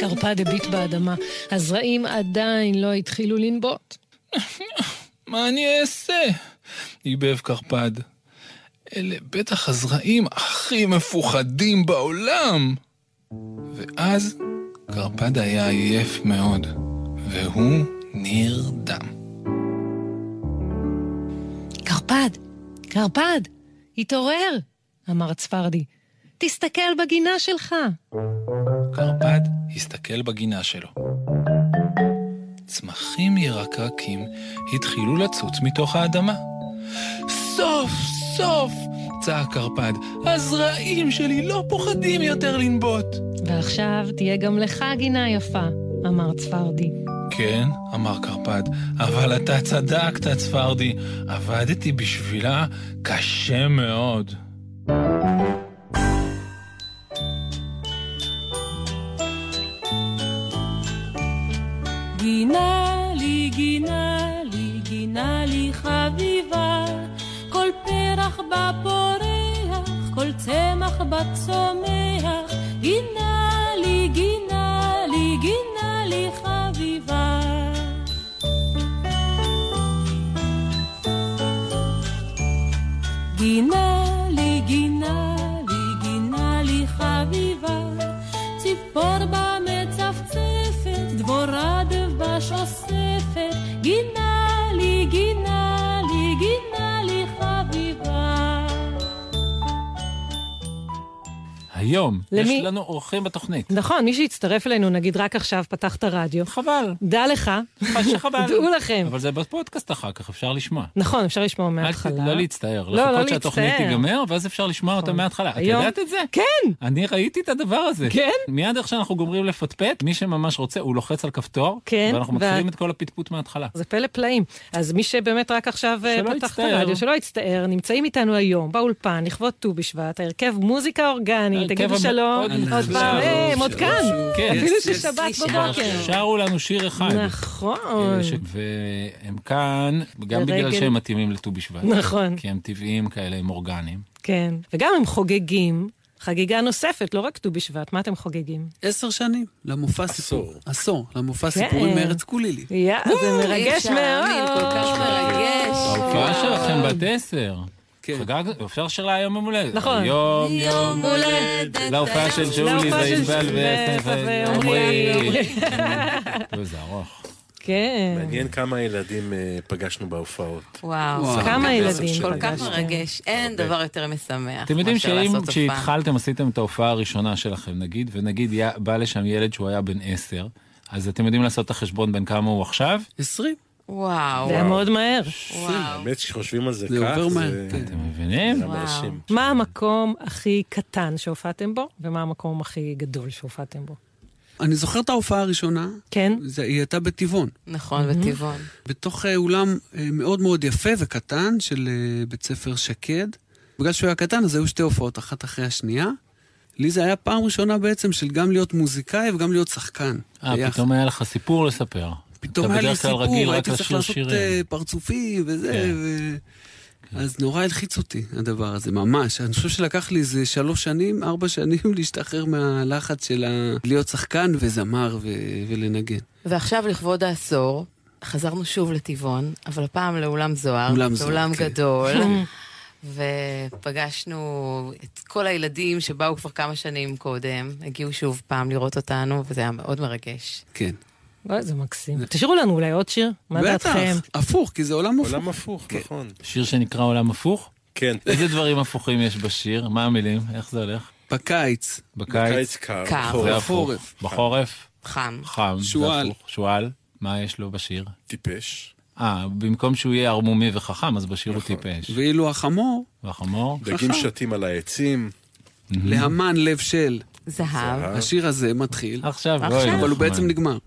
B: קרפד הביט באדמה, הזרעים עדיין לא התחילו לנבוט.
E: מה אני אעשה? עיבב קרפד. אלה בטח הזרעים הכי מפוחדים בעולם. ואז קרפד היה עייף מאוד, והוא נרדם.
B: קרפד, קרפד, התעורר! אמר צפרדי. תסתכל בגינה שלך.
E: קרפד הסתכל בגינה שלו. צמחים ירקרקים התחילו לצוץ מתוך האדמה. סוף סוף! צעק קרפד, הזרעים שלי לא פוחדים יותר לנבוט.
B: ועכשיו תהיה גם לך גינה יפה, אמר צפרדי.
E: כן, אמר קרפד, אבל אתה צדקת, צפרדי. עבדתי בשבילה קשה מאוד.
P: גינה לי, גינה לי, גינה לי חביבה, כל פרח בפורח, כל צמח בצומח, גינה לי, גינה לי, גינה לי חביבה. גינה לי, גינה לי, גינה לי חביבה, ציפור במצפצפת, דבורה דבש אוספת, גינה לי, גינה לי, גינה לי חביבה.
A: היום,
B: למי-
A: יש לנו אורחים בתוכנית.
B: נכון, מי שהצטרף אלינו, נגיד רק עכשיו פתח את הרדיו.
A: חבל.
B: דע לך. [LAUGHS]
A: שחבל.
B: דעו לכם.
A: אבל זה בפודקאסט אחר כך, אפשר לשמוע.
B: נכון, אפשר לשמוע
A: אל ת-
B: מההתחלה.
A: לא להצטער.
B: לא, לא
A: לחכות שהתוכנית
B: להצטער. נכון.
A: תיגמר, ואז אפשר לשמוע אותה מההתחלה. את
B: היום-
A: יודעת את זה?
B: כן.
A: אני ראיתי את הדבר הזה.
B: כן?
A: מיד איך שאנחנו גומרים לפטפט, מי שממש רוצה, הוא לוחץ על כפתור,
B: כן,
A: ואנחנו
B: ו-
A: מתחילים את כל הפטפוט מההתחלה.
B: זה פלא פלאים. אז מי שבאמת רק עכשיו אה,
A: [LAUGHS] שלא
B: פתח את
A: יצטער.
B: הרדיו, שלא יצטער, נמצאים איתנו היום באולפן לכבוד ט"ו בשבט, ההרכב מוזיקה אורגנית,
A: הרכב
B: תגידו
A: המ-
B: שלום,
A: עוד
B: עוד
A: שלום,
B: פעם, אה, הם עוד
A: שלום,
B: כאן,
A: כן.
B: אפילו
A: Yes, yes,
B: ששבת
A: yes.
B: בבוקר.
A: שרו לנו שיר אחד.
B: נכון.
A: אה, ש- והם כאן, גם
B: לרגל-
A: בגלל שהם מתאימים לט"ו בשבט.
B: נכון.
A: כי הם טבעיים כאלה, הם אורגניים.
B: כן, וגם הם חוגגים חגיגה נוספת, לא רק ט"ו בשבט, מה אתם חוגגים? כן.
K: עשר שנים למופע סיפור. עשור. למופע סיפורים מארץ כולילית.
B: יא, זה
K: וואו, אי
B: מרגש
K: אפשר להאמין, כל
B: מאוד.
K: כך מרגש.
A: ההופעה
B: אה,
A: שלכם בת עשר. חגגתם, אפשר שלה היום יום הולדת.
B: נכון.
A: יום יום הולדת. להופעה של ג'ולי
B: להופעה של
A: וענבל
B: ו- ועמרי.
M: [LAUGHS]
A: ועמרי. זה ארוך.
B: כן.
M: מעניין כמה ילדים אה, פגשנו בהופעות.
L: וואו.
M: זה הרבה
A: אוקיי,
M: כסף
L: כל
M: של
L: כך
M: אנשים.
L: מרגש, אין דבר יותר משמח.
A: אתם יודעים
L: מאשר
A: שאם
L: לעשות הופעה.
A: כשהתחלתם עשיתם את ההופעה הראשונה שלכם, נגיד, ונגיד יא- בא לשם ילד שהוא היה בן עשר, אז אתם יודעים לעשות את החשבון בין כמה הוא עכשיו?
K: עשרים.
L: וואו.
B: זה היה מאוד מהר.
M: האמת שחושבים על זה כך,
A: זה עובר מהר,
K: כן.
M: אתם
A: מבינים?
B: מה המקום הכי קטן שהופעתם בו, ומה המקום הכי גדול שהופעתם בו?
K: אני זוכר את ההופעה הראשונה.
B: כן.
K: זה, היא הייתה בטבעון.
L: נכון,
B: Mhm.
L: בטבעון.
K: בתוך אה, אולם אה, מאוד מאוד יפה וקטן של אה, בית ספר שקד. בגלל שהוא היה קטן, אז היו שתי הופעות, אחת אחרי השנייה. לי זה היה פעם ראשונה בעצם של גם להיות מוזיקאי וגם להיות שחקן.
A: אה,
K: ביחד.
A: פתאום היה לך סיפור לספר.
K: פתאום היה לי
A: אתה בדרך כלל
K: סיפור,
A: רגיל רק
K: הייתי צריך
A: לשיר
K: לעשות
A: שירים.
K: אה, פרצופים וזה,
A: כן.
K: ו... אז נורא הלחיץ אותי הדבר הזה, ממש. אני חושב שלקח לי איזה שלוש שנים, ארבע שנים [LAUGHS] להשתחרר מהלחץ של ה... להיות שחקן וזמר ו... ולנגן.
L: ועכשיו לכבוד העשור, חזרנו שוב לטבעון, אבל הפעם לאולם זוהר.
K: אולם זוהר, [LAUGHS]
L: לאולם
K: כן.
L: גדול. ופגשנו את כל הילדים שבאו כבר כמה שנים קודם, הגיעו שוב פעם לראות אותנו, וזה היה מאוד מרגש.
K: כן.
B: וואי, זה מקסים. תשאירו לנו אולי עוד שיר, מה דעתכם?
K: הפוך, כי זה עולם הפוך. כן.
M: עולם הפוך, נכון.
A: שיר שנקרא עולם הפוך?
M: כן.
A: איזה דברים הפוכים יש בשיר? מה המילים? איך זה הולך?
K: בקיץ.
A: בקיץ
M: בקיץ קר.
L: קר.
A: זה
L: בחורף.
A: הפוך. בחורף?
L: חם.
A: חם. זה
K: שועל.
A: הפוך. שועל. מה יש לו בשיר?
M: טיפש. נכון.
A: אה, במקום שהוא יהיה ערמומי וחכם, אז בשיר הוא טיפש.
K: ואילו החמור,
A: והחמור?
M: דגים שתים על העצים.
K: להמן לב של.
L: זהב.
K: השיר הזה מתחיל.
A: עכשיו,
K: אבל הוא בעצם נגמר.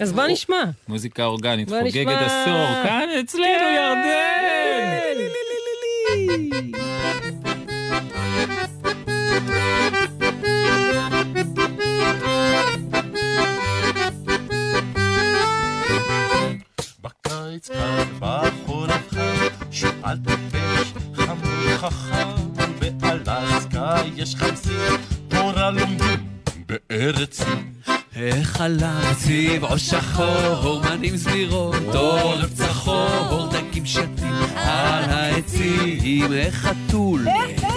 B: אז בוא נשמע.
A: מוזיקה אורגנית
B: בוא
A: חוגגת
B: נשמע.
A: עשור, כאן אצלנו
B: כן.
A: ירדן!
C: בקיץ כאן, בחורף חם,
M: כן.
C: שועל טיפש, חמור חכם, באלסקה יש חמסים, תורה לומדים בארץ
K: איך עליו צבעו שחור, מנים סבירות, עורף צחור, דגים שתים על העצים, איך חתול,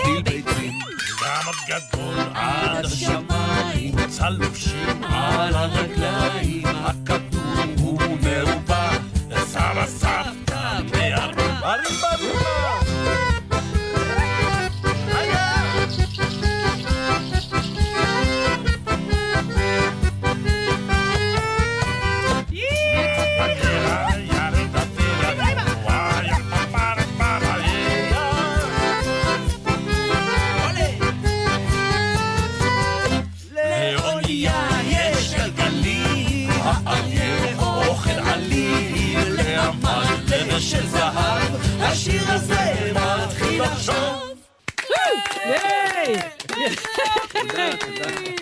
K: טיל ביצים.
C: כמה גדול עד השמיים, צלופשים על הרגליים, הכדור הוא מרובע, סבא סבתא, מהרבה, הריבה ריבה. לאונייה יש גלגלים, האריה אוכל עלים, לעמל לב של זהב, השיר הזה מתחיל עכשיו.
B: ייי!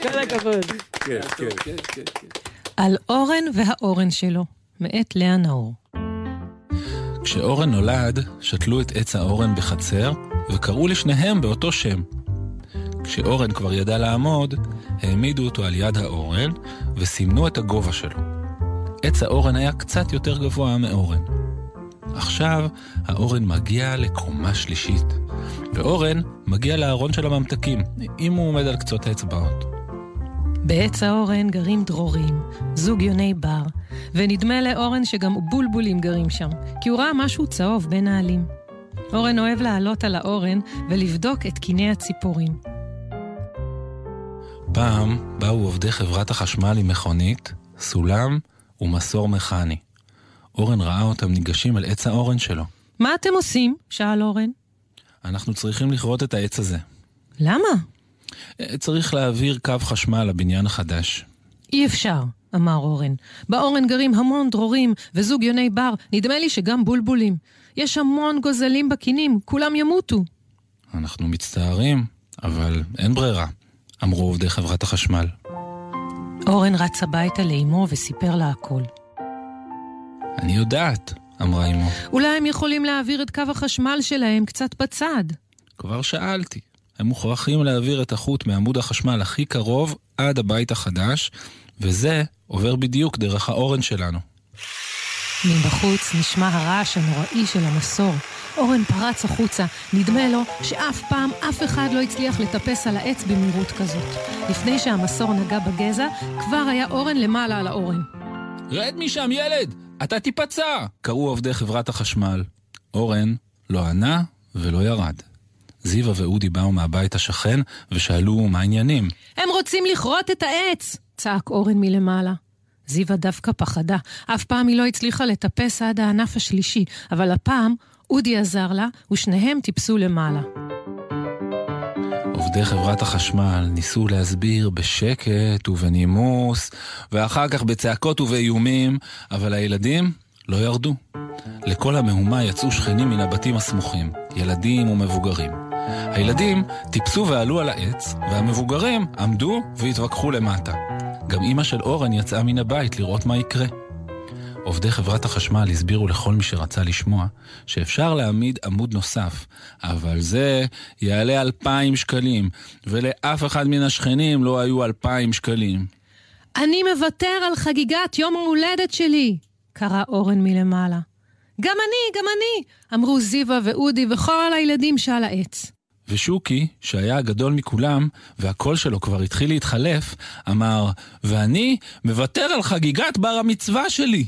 B: כל הכבוד.
Q: כן, כן.
B: על אורן והאורן שלו, מאת לאה נאור.
A: כשאורן נולד, שתלו את עץ האורן בחצר, וקראו לשניהם באותו שם. כשאורן כבר ידע לעמוד, העמידו אותו על יד האורן, וסימנו את הגובה שלו. עץ האורן היה קצת יותר גבוה מאורן. עכשיו, האורן מגיע לקומה שלישית, ואורן מגיע לארון של הממתקים, אם הוא עומד על קצות האצבעות.
B: בעץ האורן גרים דרורים, זוג יוני בר, ונדמה לאורן שגם בולבולים גרים שם, כי הוא ראה משהו צהוב בין העלים. אורן אוהב לעלות על האורן ולבדוק את קיני הציפורים.
A: פעם באו עובדי חברת החשמל עם מכונית, סולם ומסור מכני. אורן ראה אותם ניגשים אל עץ האורן שלו.
B: מה אתם עושים? שאל אורן.
A: אנחנו צריכים לכרות את העץ הזה.
B: למה?
A: אה, צריך להעביר קו חשמל לבניין החדש.
B: אי אפשר, אמר אורן. באורן גרים המון דרורים וזוג יוני בר, נדמה לי שגם בולבולים. יש המון גוזלים בקינים, כולם ימותו.
A: אנחנו מצטערים, אבל אין ברירה, אמרו עובדי חברת החשמל.
B: אורן רץ הביתה לאמו וסיפר לה הכל.
A: אני יודעת, אמרה אמו.
B: אולי הם יכולים להעביר את קו החשמל שלהם קצת בצד.
A: כבר שאלתי. הם מוכרחים להעביר את החוט מעמוד החשמל הכי קרוב עד הבית החדש, וזה עובר בדיוק דרך האורן שלנו.
B: מבחוץ נשמע הרעש הנוראי של המסור. אורן פרץ החוצה, נדמה לו שאף פעם אף אחד לא הצליח לטפס על העץ במהירות כזאת. לפני שהמסור נגע בגזע, כבר היה אורן למעלה על האורן.
A: רד משם, ילד! אתה תיפצע! קראו עובדי חברת החשמל. אורן לא ענה ולא ירד. זיווה ואודי באו מהבית השכן ושאלו מה העניינים.
B: הם רוצים לכרות את העץ! צעק אורן מלמעלה. זיווה דווקא פחדה. אף פעם היא לא הצליחה לטפס עד הענף השלישי, אבל הפעם אודי עזר לה, ושניהם טיפסו למעלה.
A: עובדי חברת החשמל ניסו להסביר בשקט ובנימוס, ואחר כך בצעקות ובאיומים, אבל הילדים לא ירדו. לכל המהומה יצאו שכנים מן הבתים הסמוכים, ילדים ומבוגרים. הילדים טיפסו ועלו על העץ, והמבוגרים עמדו והתווכחו למטה. גם אימא של אורן יצאה מן הבית לראות מה יקרה. עובדי חברת החשמל הסבירו לכל מי שרצה לשמוע שאפשר להעמיד עמוד נוסף, אבל זה יעלה אלפיים שקלים, ולאף אחד מן השכנים לא היו אלפיים שקלים.
B: אני מוותר על חגיגת יום ההולדת שלי! קרא אורן מלמעלה. גם אני, גם אני! אמרו זיווה ואודי וכל הילדים שעל העץ.
A: ושוקי, שהיה הגדול מכולם, והקול שלו כבר התחיל להתחלף, אמר, ואני מוותר על חגיגת בר המצווה שלי.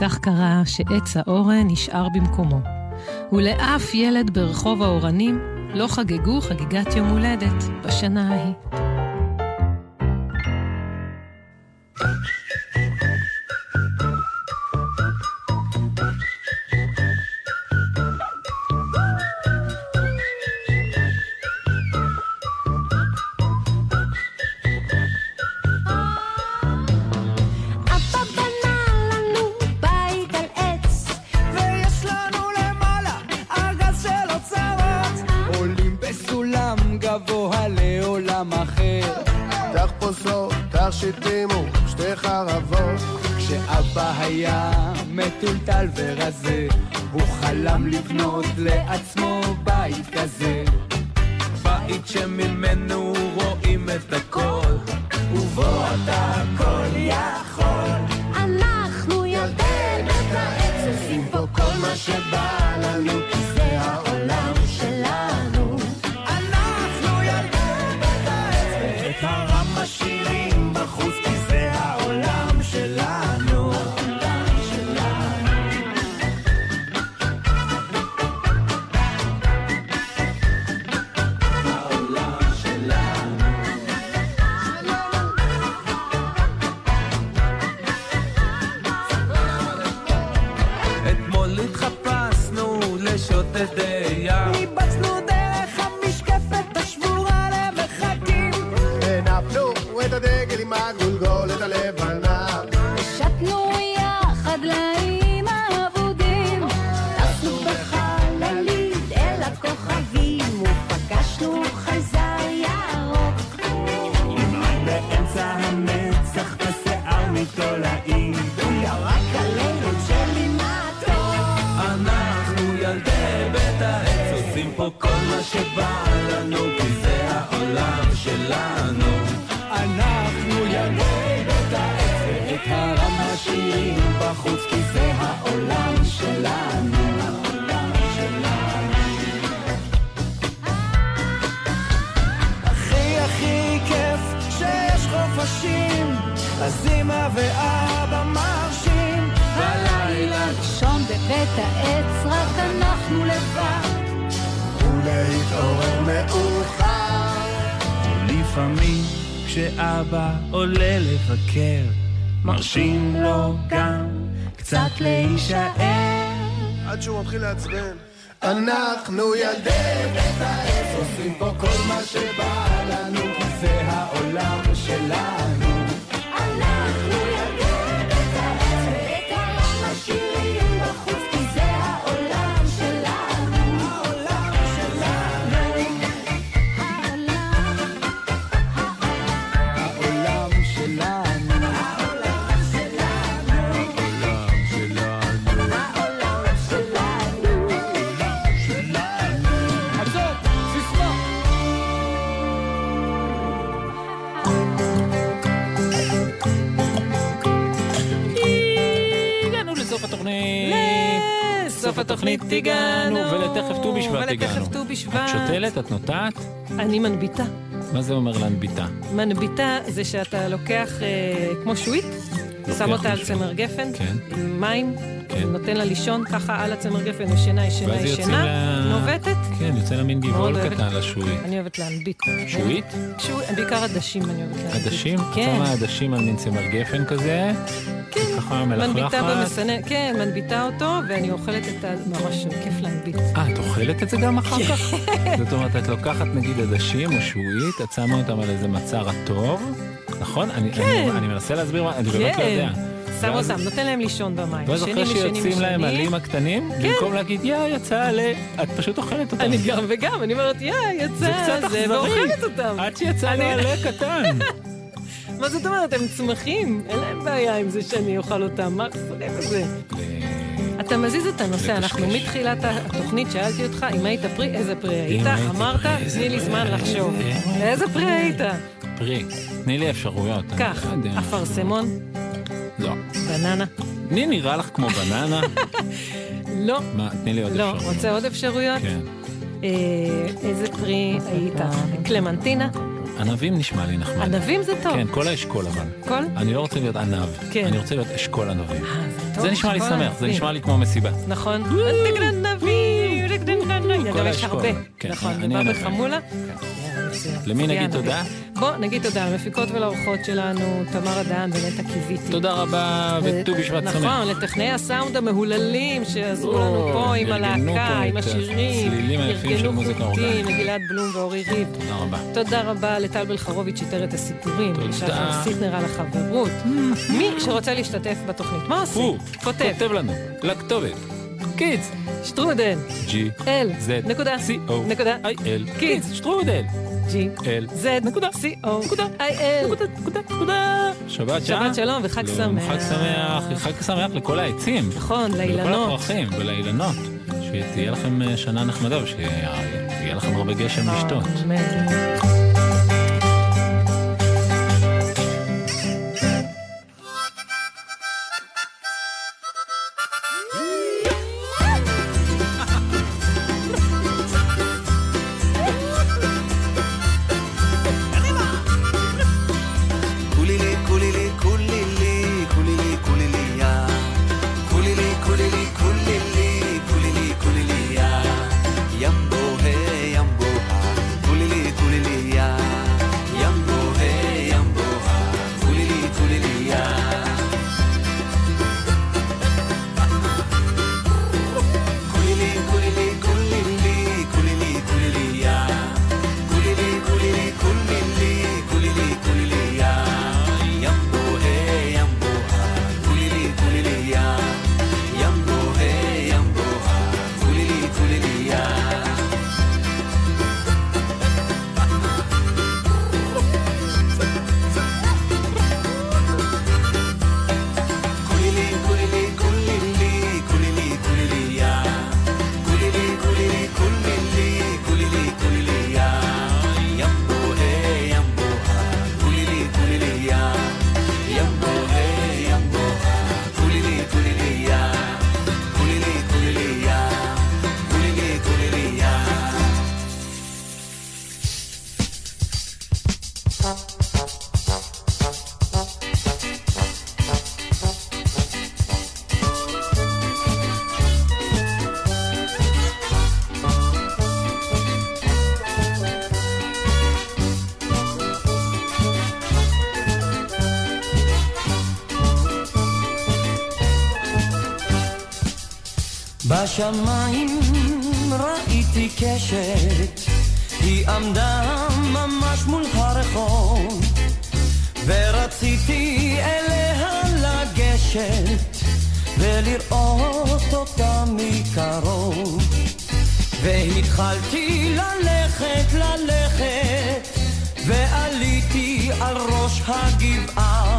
B: כך קרה שעץ האורן נשאר במקומו. ולאף ילד ברחוב האורנים לא חגגו חגיגת יום הולדת בשנה ההיא.
R: אבא
S: שתימו שתי חרבות כשאבא היה מטולטל ורזה הוא חלם לבנות לעצמו בית כזה בית שממנו רואים את הכל ובו אתה הכל יכול
C: אנחנו ילדינו את העץ עושים פה כל מה שבא לנו כי זה העולם שלנו אנחנו ילדינו את העץ
T: את הרם משאירים בחוץ כי זה העולם שלנו.
S: אתמול התחפשנו לשוטט ים
C: ניבצנו דרך המשקפת השבורה למרחקים
S: הנפנו את הדגל עם הגולגולת הלבנה
P: שתנו יחד לאים האבודים,
C: טסנו בחללית אל הכוכבים ופגשנו חייזר ירוק
T: נמעט באמצע המצח בשיער מתולעים
C: הוא ירק עלינו ג'לי מהטוב
T: אנחנו ילדי בית העץ עושים פה כל מה שבא לנו כי זה העולם שלנו אנחנו ילדי בית העץ ואת הרם משאירים בחוץ כי זה העולם שלנו העולם שלנו
C: הכי הכי כיף שיש חופשים אז אמא ואבא מרשים בלילה לישון בבית העץ רק אנחנו לבד
S: ולהתעורר
C: מאוחר
U: לפעמים כשאבא עולה לבקר, מרשים לו גם קצת להישאר.
S: עד שהוא מתחיל לעצבן אנחנו ילדי בית העץ עושים פה כל מה שבא לנו כי זה העולם שלנו
C: אנחנו ילדי בית העץ ואת העם משאירים בחוץ כי זה העולם שלנו העולם שלנו
S: העולם שלנו
C: העולם שלנו העולם שלנו העולם שלנו עצור, סיסמה
A: הגענו לסוף התוכנית. לסוף התוכנית
B: אה, הגענו.
A: ולתכף ט"ו בשבט
B: ולתכף
A: הגענו.
B: ט"ו בשבט.
A: את שותלת? את נוטעת?
B: אני מנביטה.
A: מה זה אומר להנביטה?
B: מנביטה זה שאתה לוקח אה, כמו שועית, שם אותה על צמר גפן,
A: כן.
B: עם מים, נותן לה לישון ככה על הצמר גפן, ישנה, ישנה,
A: ואז יוצאים
B: ישנה,
A: לה...
B: נובטת.
A: כן, יוצא לה מין גבעול
B: מאוד אוהבת.
A: קטן לשועית.
B: אני אוהבת להנביט.
A: שועית?
B: שועית, בעיקר עדשים אני אוהבת להנביט.
A: עדשים?
B: כן.
A: כמה עדשים על מין צמר גפן כזה? כן. ככה מלכלכת?
B: מנביטה במסנן, כן, מנביטה אותו, ואני אוכלת את ה... ממש כיף להנביט.
A: אה, את אוכלת את זה גם אחר
B: כן.
A: כך? זאת אומרת, את לוקחת נגיד עדשים או שועית, את שמה אותם על איזה מצע רטוב, נכון? אני,
B: כן.
A: אני, אני מנסה להסביר מה, אני באמת לא יודע.
B: שם
A: ואז-
B: אותם, נותן להם לישון במים.
A: ואז אחרי
B: ישנים, ישנים,
A: שיוצאים להם
B: ישנים.
A: עלים הקטנים,
B: כן.
A: במקום להגיד, יא, יצא עלה, את פשוט אוכלת אותם.
B: אני גם וגם, אני אומרת, יא,
A: זה
B: יצא
A: קצת
B: זה,
A: אכזרי.
B: ואוכלת אותם.
A: עד שיצא
B: אני-
A: לו עלה קטן.
B: [LAUGHS] מה זאת אומרת, הם צמחים, אין להם בעיה עם זה שאני אוכל אותם, מה החסרים בזה? אתה מזיז את הנושא, אנחנו מתחילת התוכנית שאלתי אותך אם היית פרי, איזה פרי היית,
A: הייתי
B: אמרת,
A: פרי, איזה
B: תני לי
A: פרי,
B: זמן
A: איזה-
B: לחשוב. איזה פרי היית?
A: אה, פרי, תני לי אפשרויות. אני
B: כך,
A: לא יודע.
B: אפרסמון,
A: לא.
B: בננה.
A: מי נראה לך כמו
B: [LAUGHS]
A: בננה?
B: לא,
A: מה, תני לי עוד
B: לא,
A: אפשרויות.
B: רוצה עוד אפשרויות?
A: כן.
B: אה, איזה פרי היית? קלמנטינה?
A: ענבים נשמע לי נחמד.
B: ענבים זה טוב.
A: כן, כל האשכול אבל.
B: כל?
A: אני לא רוצה להיות ענב,
B: כן. אה,
A: אני רוצה להיות אשכול ענבים.
B: טוב,
A: זה נשמע לי
B: אשכול
A: שמח, זה
B: ענבים.
A: נשמע לי כמו מסיבה.
B: נכון. דגרנבים, דגרנבים. גם יש
A: האשכול.
B: הרבה.
A: כן,
B: נכון, זה
A: אני
B: בא
A: ענבים.
B: בחמולה.
A: למי
B: יאללה.
A: נגיד תודה?
B: בוא נגיד תודה למפיקות ולאורחות שלנו, תמר הדהן ונטע קיוויתי.
A: תודה רבה, וט"ו בשבט שמח.
B: אה, נכון, לטכנאי הסאונד המהוללים שעזרו
A: או,
B: לנו פה עם
A: ארגנו
B: הלהקה,
A: פה
B: עם
A: את
B: השירים,
A: הצלילים היפים של
B: ארגנו
A: מוזיקה
B: חוטים,
A: אורגנית.
B: לגלעד בלום ואורי ריב.
A: תודה רבה.
B: תודה רבה לטל בלחרוביץ' שתר את הסיפורים, לשחר סיטנר על החברות. מי שרוצה להשתתף בתוכנית, מה עושים?
A: הוא
B: כותב.
A: כותב לנו, לכתובת.
B: קידס, שטרודל,
A: G.
B: אל,
A: Z.
B: נקודה,
A: O.
B: נקודה,
A: I. L.
B: קידס,
A: שטרודל, אל.
B: www.co.il.
A: שבת
B: שבת שלום לא. וחג שמח.
A: חג שמח, חג שמח לכל העצים.
B: אה. נכון,
A: לכל
B: לאילנות.
A: הפרחים ולאילנות. שתהיה לכם אה, שנה נחמדה ושיהיה לכם הרבה גשם
B: נכון.
A: לשתות.
C: קולילי, קולילי, קולילי, קולילי, קוליליה. קולילי, קולילי, קולילי, קולילי, קוליליה. ימבו, היי, ימבו, אה. קולילי, קוליליה. ימבו, היי, ימבו, אה. קולילי, קוליליה. קולילי, קולילי, קולילי, קולילי, קוליליה. קולילי, קולילי, קולילי, קולילי, קוליליה. ימבו, היי, ימבו, אה. קולילי, קוליליה. ימבו, היי, ימבו, אה. קולילי, קוליליה. קולילי, קולילי, קולילי, קולילי, קוליליה. קולילי, קולילי, קולילי, קולילי, קוליליה. ימבו, היי, ימבו, אה. קולילי, קוליליה. ימבו, היי, ימבו, אה. קולילי, קוליליה. קולילי, קוליליה. קולילי, קוליליה.
V: בשמיים ראיתי קשת, היא עמדה ממש מול הרחוב, ורציתי אליה לגשת, ולראות אותה מקרוב. והתחלתי ללכת, ללכת, ועליתי על ראש הגבעה.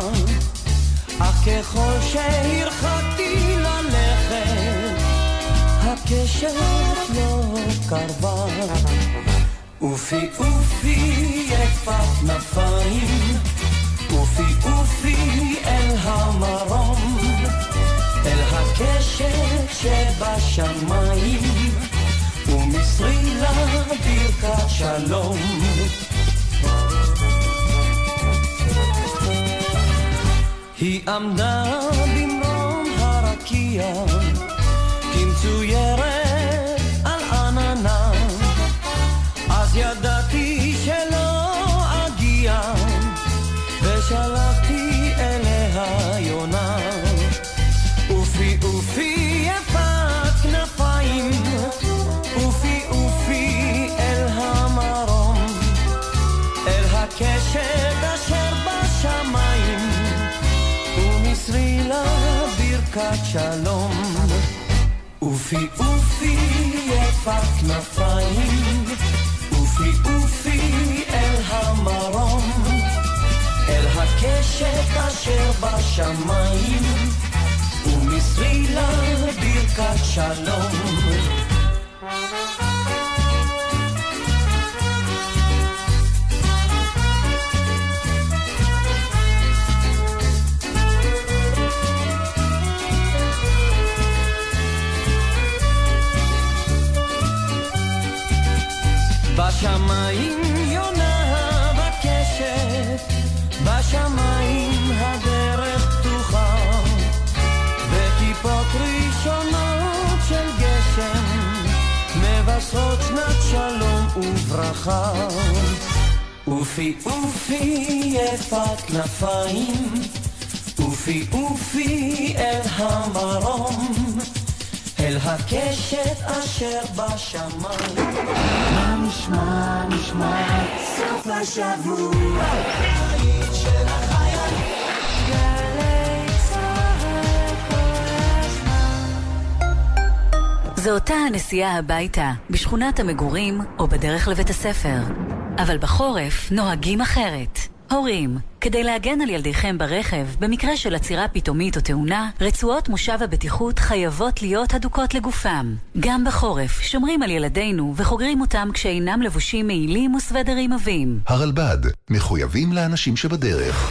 V: אך ככל שהרחקתי ללכת, הקשת לא קרבה. אופי אופי יפת נפיים, אופי אופי אל המרום, אל הקשת שבשמיים, ומסרי לה ברכת שלום. היא עמדה במרום הרקיע, כמצוירת על עננה. אז ידעתי שלא אגיע, ושלחתי אליה יונה. אופי אופי יפת כנפיים, אופי אופי אל המרום, אל הקשת אשר בשמיים. ומסרי לה ברכת שלום. אופי אופי יפת כנפיים, אופי אופי אל המרום, אל הקשת אשר בשמיים, ומסרי לה ברכת שלום. בשמיים יונה בקשת, בשמיים הדרך פתוחה, וטיפות ראשונות של גשם, מבשרות שנת שלום וברכה. אופי אופי יפת כנפיים, אופי אופי אל המרום, אל הקשת אשר בשמיים. מה נשמע, נשמע, סוף השבוע.
F: זו אותה הנסיעה הביתה, בשכונת המגורים או בדרך לבית הספר. אבל בחורף נוהגים אחרת. הורים, כדי להגן על ילדיכם ברכב, במקרה של עצירה פתאומית או תאונה, רצועות מושב הבטיחות חייבות להיות הדוקות לגופם. גם בחורף, שומרים על ילדינו וחוגרים אותם כשאינם לבושים מעילים וסוודרים עבים.
G: הרלב"ד, מחויבים לאנשים שבדרך.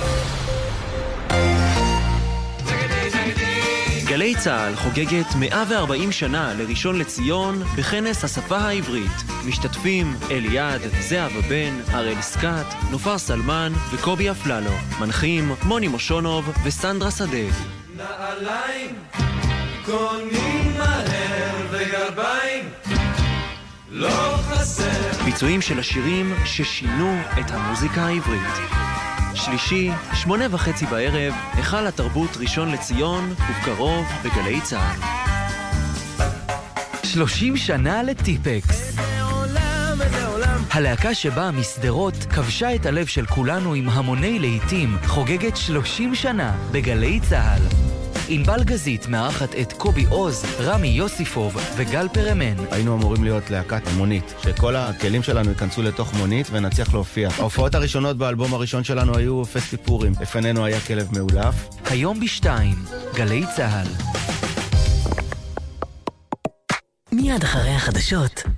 W: גלי צה"ל חוגגת 140 שנה לראשון לציון בכנס השפה העברית. משתתפים אליעד, זהבה בן, הראל סקאט, נופר סלמן וקובי אפללו. מנחים מוני מושונוב וסנדרה שדה.
X: נעליים קונים מהר וגרביים לא חסר
W: ביצועים של השירים ששינו את המוזיקה העברית. שלישי, שמונה וחצי בערב, היכל התרבות ראשון לציון, ובקרוב בגלי צה"ל.
Y: 30 שנה לטיפקס. הלהקה שבאה משדרות כבשה את הלב של כולנו עם המוני להיטים, חוגגת 30 שנה בגלי צה"ל. ענבל גזית מארחת את קובי עוז, רמי יוסיפוב וגל פרמן.
Z: היינו אמורים להיות להקת מונית, שכל הכלים שלנו ייכנסו לתוך מונית ונצליח להופיע. ההופעות הראשונות באלבום הראשון שלנו היו פסטי פורים. לפנינו היה כלב מאולף.
Y: היום בשתיים, גלי צה"ל.
F: מיד אחרי החדשות,